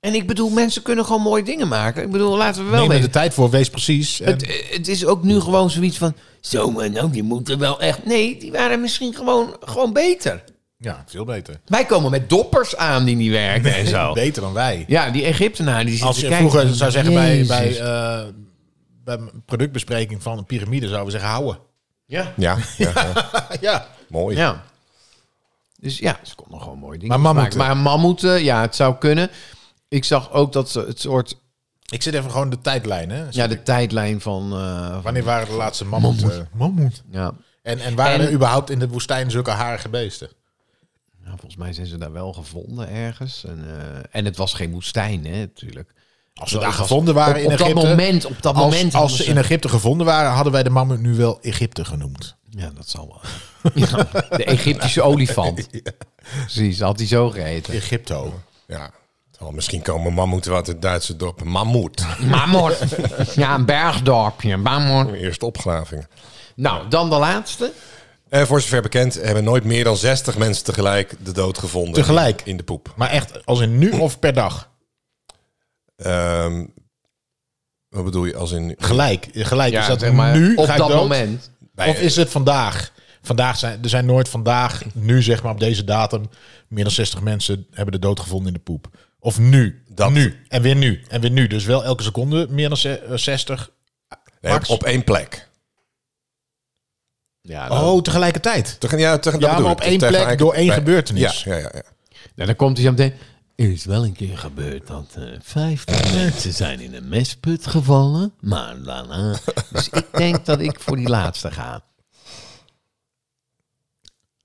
En ik bedoel, mensen kunnen gewoon mooie dingen maken. Ik bedoel, laten we wel
Neem er de
weten.
tijd voor, wees precies. En
Het, het is ook nu gewoon zoiets van... Zo, maar nou, die moeten wel echt... Nee, die waren misschien gewoon, gewoon beter.
ja, veel beter.
Wij komen met doppers aan die niet werken en zo.
Beter dan wij.
*laughs* Ja, die Egyptenaren die zitten
Als je
kijken
vroeger
van,
zou zeggen bij, bij,
Jezus.
eh, bij een productbespreking van een piramide, zouden we zeggen houden.
*laughs* ja.
Ja, ja, ja.
ja.
mooi.
ja. Dus ja, ze konden gewoon mooi dingen
Maar mammoeten.
maken. Maar mammoeten, ja, het zou kunnen. Ik zag ook dat ze het soort
Ik zit even gewoon de tijdlijn, hè?
Ja, de tijdlijn van... eh, van-
Wanneer waren de laatste mammoeten? Mammoet. eh,
ja.
En, en waren
En-
er überhaupt in de woestijn zulke harige beesten?
Ja, nou, volgens mij zijn ze daar wel gevonden ergens. En, eh, en het was geen woestijn, hè, natuurlijk.
Als ze daar gevonden waren
op,
in
op
Egypte...
dat moment, op dat
als,
moment...
als
hadden
ze in Egypte gevonden waren, hadden wij de mammoet nu wel Egypte genoemd.
Ja, dat zal
*laughs*
wel. *laughs* Ja, de Egyptische olifant. Precies, had hij zo
*laughs*
geheten.
Egypto.
Ja. Terwijl misschien komen mammoeten uit het Duitse dorp Mammoet. *laughs*
Mamor. Ja, een bergdorpje. Mamor.
Eerste opgravingen.
Nou, dan de laatste.
En voor zover bekend hebben nooit meer dan 60 mensen tegelijk de dood gevonden.
Tegelijk?
In de poep.
Maar echt, als in nu of per dag?
Ehm, wat bedoel je als in...
Gelijk. Gelijk.
Ja,
is dat
zeg maar,
nu
op
ga ik
Dus dat
dood?
moment.
Bij-
Of is het vandaag? Vandaag zijn, er zijn nooit vandaag, nu zeg maar op deze datum, meer dan 60 mensen hebben de dood gevonden in de poep. Of nu.
Dat.
Nu. En weer nu. En weer nu. Dus wel elke seconde meer dan ze- eh, 60.
Nee, op,
Max?
op één plek.
Ja, nou,
Oh, tegelijkertijd.
Tegen, ja, tegen, dat
Ja,
bedoel
maar
ik.
op één
Tegen-
plek door één
bij-
gebeurtenis.
Ja, ja, ja, ja.
nou, dan komt hij zo meteen. Er is wel een keer gebeurd dat eh *laughs* 50 mensen zijn in een mesput gevallen. Maar daarna... Dus ik denk dat ik voor die laatste ga.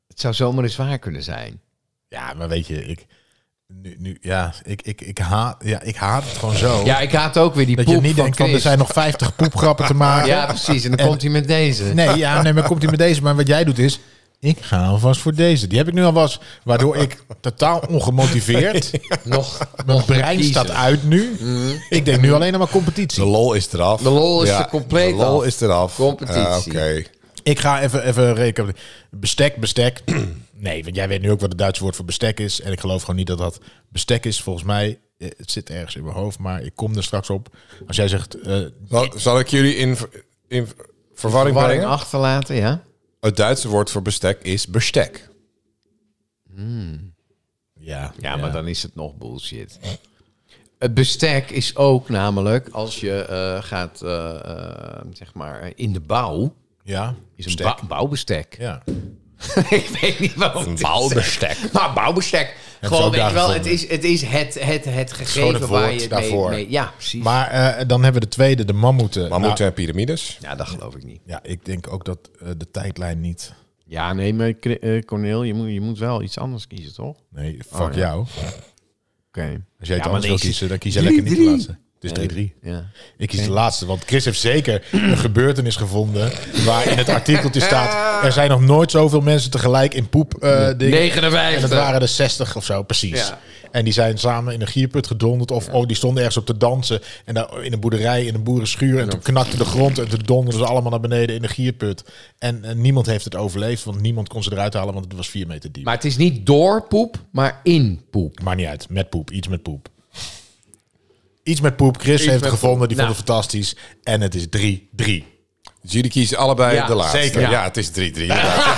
Het zou zomaar eens waar kunnen zijn.
Ja, maar weet je, ik... Nu, nu, ja, ik, ik, ik, haat, ja, ik haat het gewoon zo.
Ja, ik haat ook weer die
dat
poep
je niet
van
denkt van, er
Chris.
zijn nog 50 poepgrappen
*laughs*
te maken.
Ja, precies. En dan komt hij met deze.
*laughs* Nee, ja, nee, maar komt hij met deze. Maar wat jij doet is, ik ga alvast voor deze. Die heb ik nu alvast, waardoor ik totaal
*laughs*
ongemotiveerd...
*laughs* Nog,
Mijn
nog
brein
kiezen.
staat uit nu. Ik denk nu alleen nog maar competitie.
Mhm. De lol is eraf.
De lol is er compleet
De lol
af.
is eraf.
Competitie.
Ah, Oké.
Ik ga even, even rekenen. Bestek, bestek. *clears throat* Nee, want jij weet nu ook wat het Duitse woord voor bestek is. En ik geloof gewoon niet dat dat bestek is. Volgens mij, eh, het zit ergens in mijn hoofd, maar ik kom er straks op. Als jij zegt, eh,
Zal, zal ik jullie in, ver- in ver- verwarring
Verwarring
brengen?
achterlaten, ja.
Het Duitse woord voor bestek is bestek.
ja,
Ja, maar dan is het nog bullshit. Het bestek is ook namelijk als je eh, gaat, eh, eh, zeg maar, in de bouw.
Ja,
Is een
bestek.
bou- bouwbestek.
Ja.
*laughs* ik weet niet waarom.
Een
het is.
bouwbestek.
*laughs* Maar bouwbestek. Gewoon,
ook
weet
daar
je wel, het
gevonden.
is het, is het, het, het
Gewoon het
gegeven
woord
waar je het mee-
daarvoor.
mee... Ja, precies.
Maar eh, dan hebben we de tweede, de mammoeten.
Mammoeten en
Nou,
piramides.
ja, dat geloof ik niet.
ja, ik denk ook dat eh, de tijdlijn niet...
Ja, nee, maar Cri- eh, Cornel, je moet, je moet wel iets anders kiezen, toch? Oké.
Nee, fuck jou. Als jij
Oh, Ja,
het
maar
anders wil
deze-
kiezen, dan kies je lekker niet de laatste. Dus 3-3.
Ja.
Ik kies de laatste, want Chris heeft zeker een *clears throat* gebeurtenis gevonden. waar in het artikeltje staat. Er zijn nog nooit zoveel mensen tegelijk in poep. eh dingen.
59.
En dat waren er 60 of zo, precies.
Ja.
En die zijn samen in een gierput gedonderd. Of oh, die stonden ergens op te dansen. En daar in een boerderij, in een boerenschuur. En toen knakte de grond. En toen donderden ze allemaal naar beneden in de gierput. En, eh, niemand heeft het overleefd, want niemand kon ze eruit halen, want het was vier meter diep.
Maar het is niet door poep, maar in poep.
Maakt niet uit. Met poep. Iets met poep. Iets met poep. Chris heeft het
met
gevonden.
poep.
Die
Nou.
vond het fantastisch. En het is 3-3.
Dus jullie kiezen allebei
Ja,
de laatste.
zeker.
Ja.
Ja.
het is 3-3. inderdaad.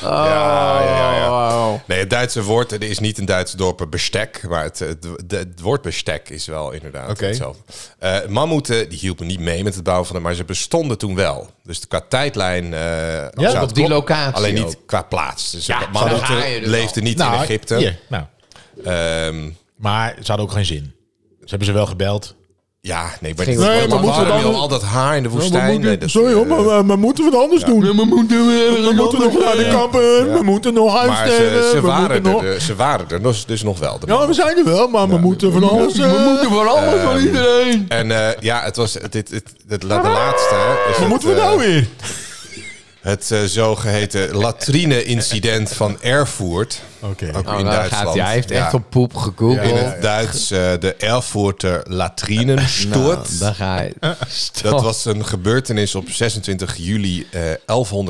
Ja, ja, ja, ja. Nee, het Duitse woord, er is niet een Duitse dorp bestek, maar het, het, de- het woord bestek is wel inderdaad
Oké.
hetzelfde. Eh, mammoeten, die hielpen niet mee met het bouwen van de, maar ze bestonden toen wel. Dus qua tijdlijn... ja,
op die locatie
Alleen niet
ook.
qua plaats. Dus
Ja, daar ga je
mammoeten
dus
leefden niet in Egypte.
hier, nou.
Ehm,
Maar ze hadden ook geen zin. Ze hebben ze wel gebeld.
ja, nee, maar,
Ging
nee, maar,
wel- maar
waarom
moeten we dan-
joh, al dat haar in de woestijn? Nee, dat- eh,
maar moeten we het anders doen?
We moeten,
kampen. We moeten nog
Maar
eh,
ze, ze, waren er, de- ze waren er dus, dus nog wel. de
Ja, we
mannen.
zijn er wel, maar we moeten van alles... eh,
voor allemaal voor iedereen.
En eh, ja, het was dit, dit, dit- de laatste. hè, is
Wat
het,
moeten we
eh,
nou weer?
Het eh, zogeheten latrine-incident van Erfurt.
Oké.
Ook
Oh,
in
daar
Duitsland.
gaat hij. Hij heeft
Ja.
echt op poep gegoogeld.
In het Duits eh, de Erfurter
Nou,
latrinenstoort.
daar ga je. *laughs*
dat was een gebeurtenis op 26 juli eh,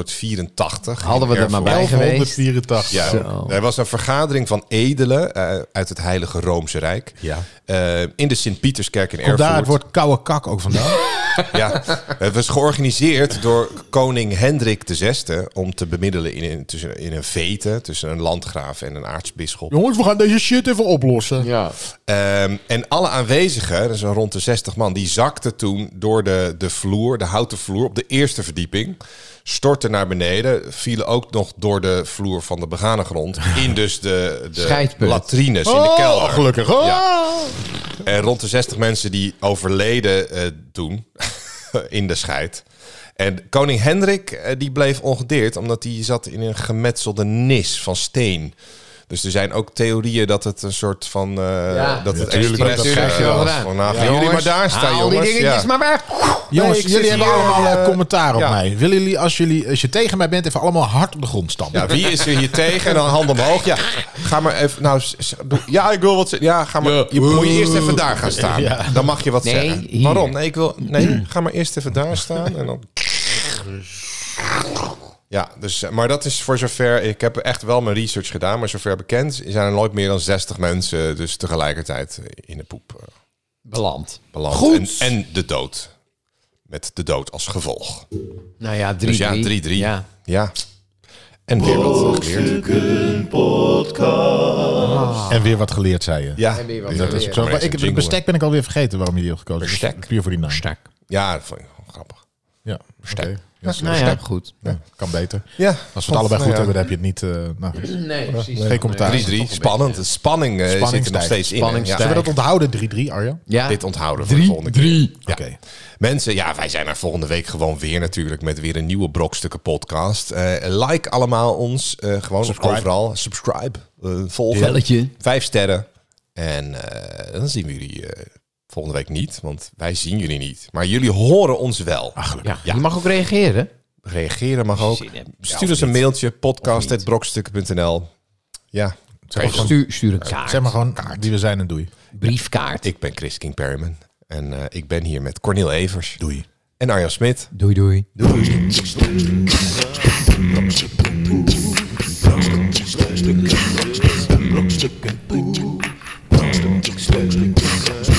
1184. in
Hadden we er maar
Erfurt.
bij geweest.
1184.
Ja,
Zo.
er was een vergadering van edelen eh, uit het Heilige Roomse Rijk.
Ja.
Eh, in de Sint-Pieterskerk in
Komt
Erfurt.
daar het woord koude kak ook vandaan?
Ja, het was georganiseerd door koning Hendrik VI om te bemiddelen in een, tussen, in een vete tussen een landgraaf en een aartsbisschop.
*laughs* Jongens, we gaan deze shit even oplossen.
Ja.
Ehm, en alle aanwezigen, dat is een rond de 60 man, die zakten toen door de, de vloer, de houten vloer, op de eerste verdieping. Stortten naar beneden, vielen ook nog door de vloer van de begane grond. In dus de, de
Scheidput.
Oh,
latrines in de kelder.
gelukkig.
Ja. En rond de 60 mensen die overleden eh, toen *laughs* in de scheid. En koning Hendrik eh, die bleef ongedeerd omdat hij zat in een gemetselde nis van steen. Dus er zijn ook theorieën dat het een soort van... eh,
Ja,
dat het
natuurlijk,
expres
dat krijg je
eh,
wel
was.
gedaan.
Van, nou,
Ja,
gaan jullie maar
jongens,
daar staan,
Haal die
jongens.
dingetjes
Ja.
maar weg.
Jongens,
ik zit
jullie hebben
hier,
allemaal eh,
eh,
commentaar op
ja.
mij. Willen jullie, als, jullie, als je tegen mij bent, even allemaal hard op de grond stampen?
Ja, wie is er hier tegen? En dan hand omhoog. Ja, ga maar even... Nou, s- s- doe- ja, ik wil wat... ze- Ja, ga maar... Je moet je eerst even daar gaan staan. Dan mag je wat
Nee,
zeggen.
hier.
Waarom? Nee, ik wil... Nee, ga maar eerst even daar staan. En dan... Ja, dus, eh, maar dat is voor zover... Ik heb echt wel mijn research gedaan, maar zover bekend... zijn er nooit meer dan 60 mensen dus tegelijkertijd in de poep eh,
Beland.
beland.
Goed.
En, en de dood. Met de dood als gevolg.
Nou ja, 3-3.
Dus ja, 3-3.
Ja.
Ja. En weer wat geleerd.
En weer wat geleerd, zei je.
Ja,
En weer wat
Dat is ook
geleerd.
zo. Maar
Deze
ik,
jingle.
het bestek ben ik alweer vergeten waarom je die had gekozen.
Bestek.
Dus Puur voor die naam.
Sterk.
ja dat vond ik gewoon grappig.
Ja, bestek.
Nou ja, goed.
kan beter.
Ja,
Als we het allebei goed hebben, dan heb je het niet... eh, nou, goed.
Nee, precies.
Geen commentaar.
Nee.
3-3, spannend. De spanning eh, zit er nog
Spanningstijd.
steeds in. hè?
Spanningstijd.
Ja,
Zullen we dat onthouden, 3-3, Arjan?
Ja.
dit onthouden voor de volgende keer.
Oké.
Mensen, ja, wij zijn er volgende week gewoon weer natuurlijk met weer een nieuwe Brokstukken podcast. Eh, like allemaal ons, eh, gewoon
Subscribe.
overal. Subscribe, eh, volgen.
Belletje.
Vijf sterren. En eh, dan zien we jullie eh, volgende week niet, want wij zien jullie niet. Maar jullie horen ons wel.
Ja. Je mag ook reageren.
Reageren mag ook.
Zin hebt.
Stuur ons een mailtje, podcast.brokstukken.nl. Ja,
Zeg, maar gewoon-
Stuur, stuur een kaart.
zeg maar gewoon wie we zijn en doei.
Briefkaart.
Ik ben Chris King Perryman. En eh, ik ben hier met Cornel Evers.
Doei.
En Arjan Smit.
Doei doei.
Brokstukken, brokstukken, brokstukken, brokstukken, brokstukken, brokstukken, brokstukken,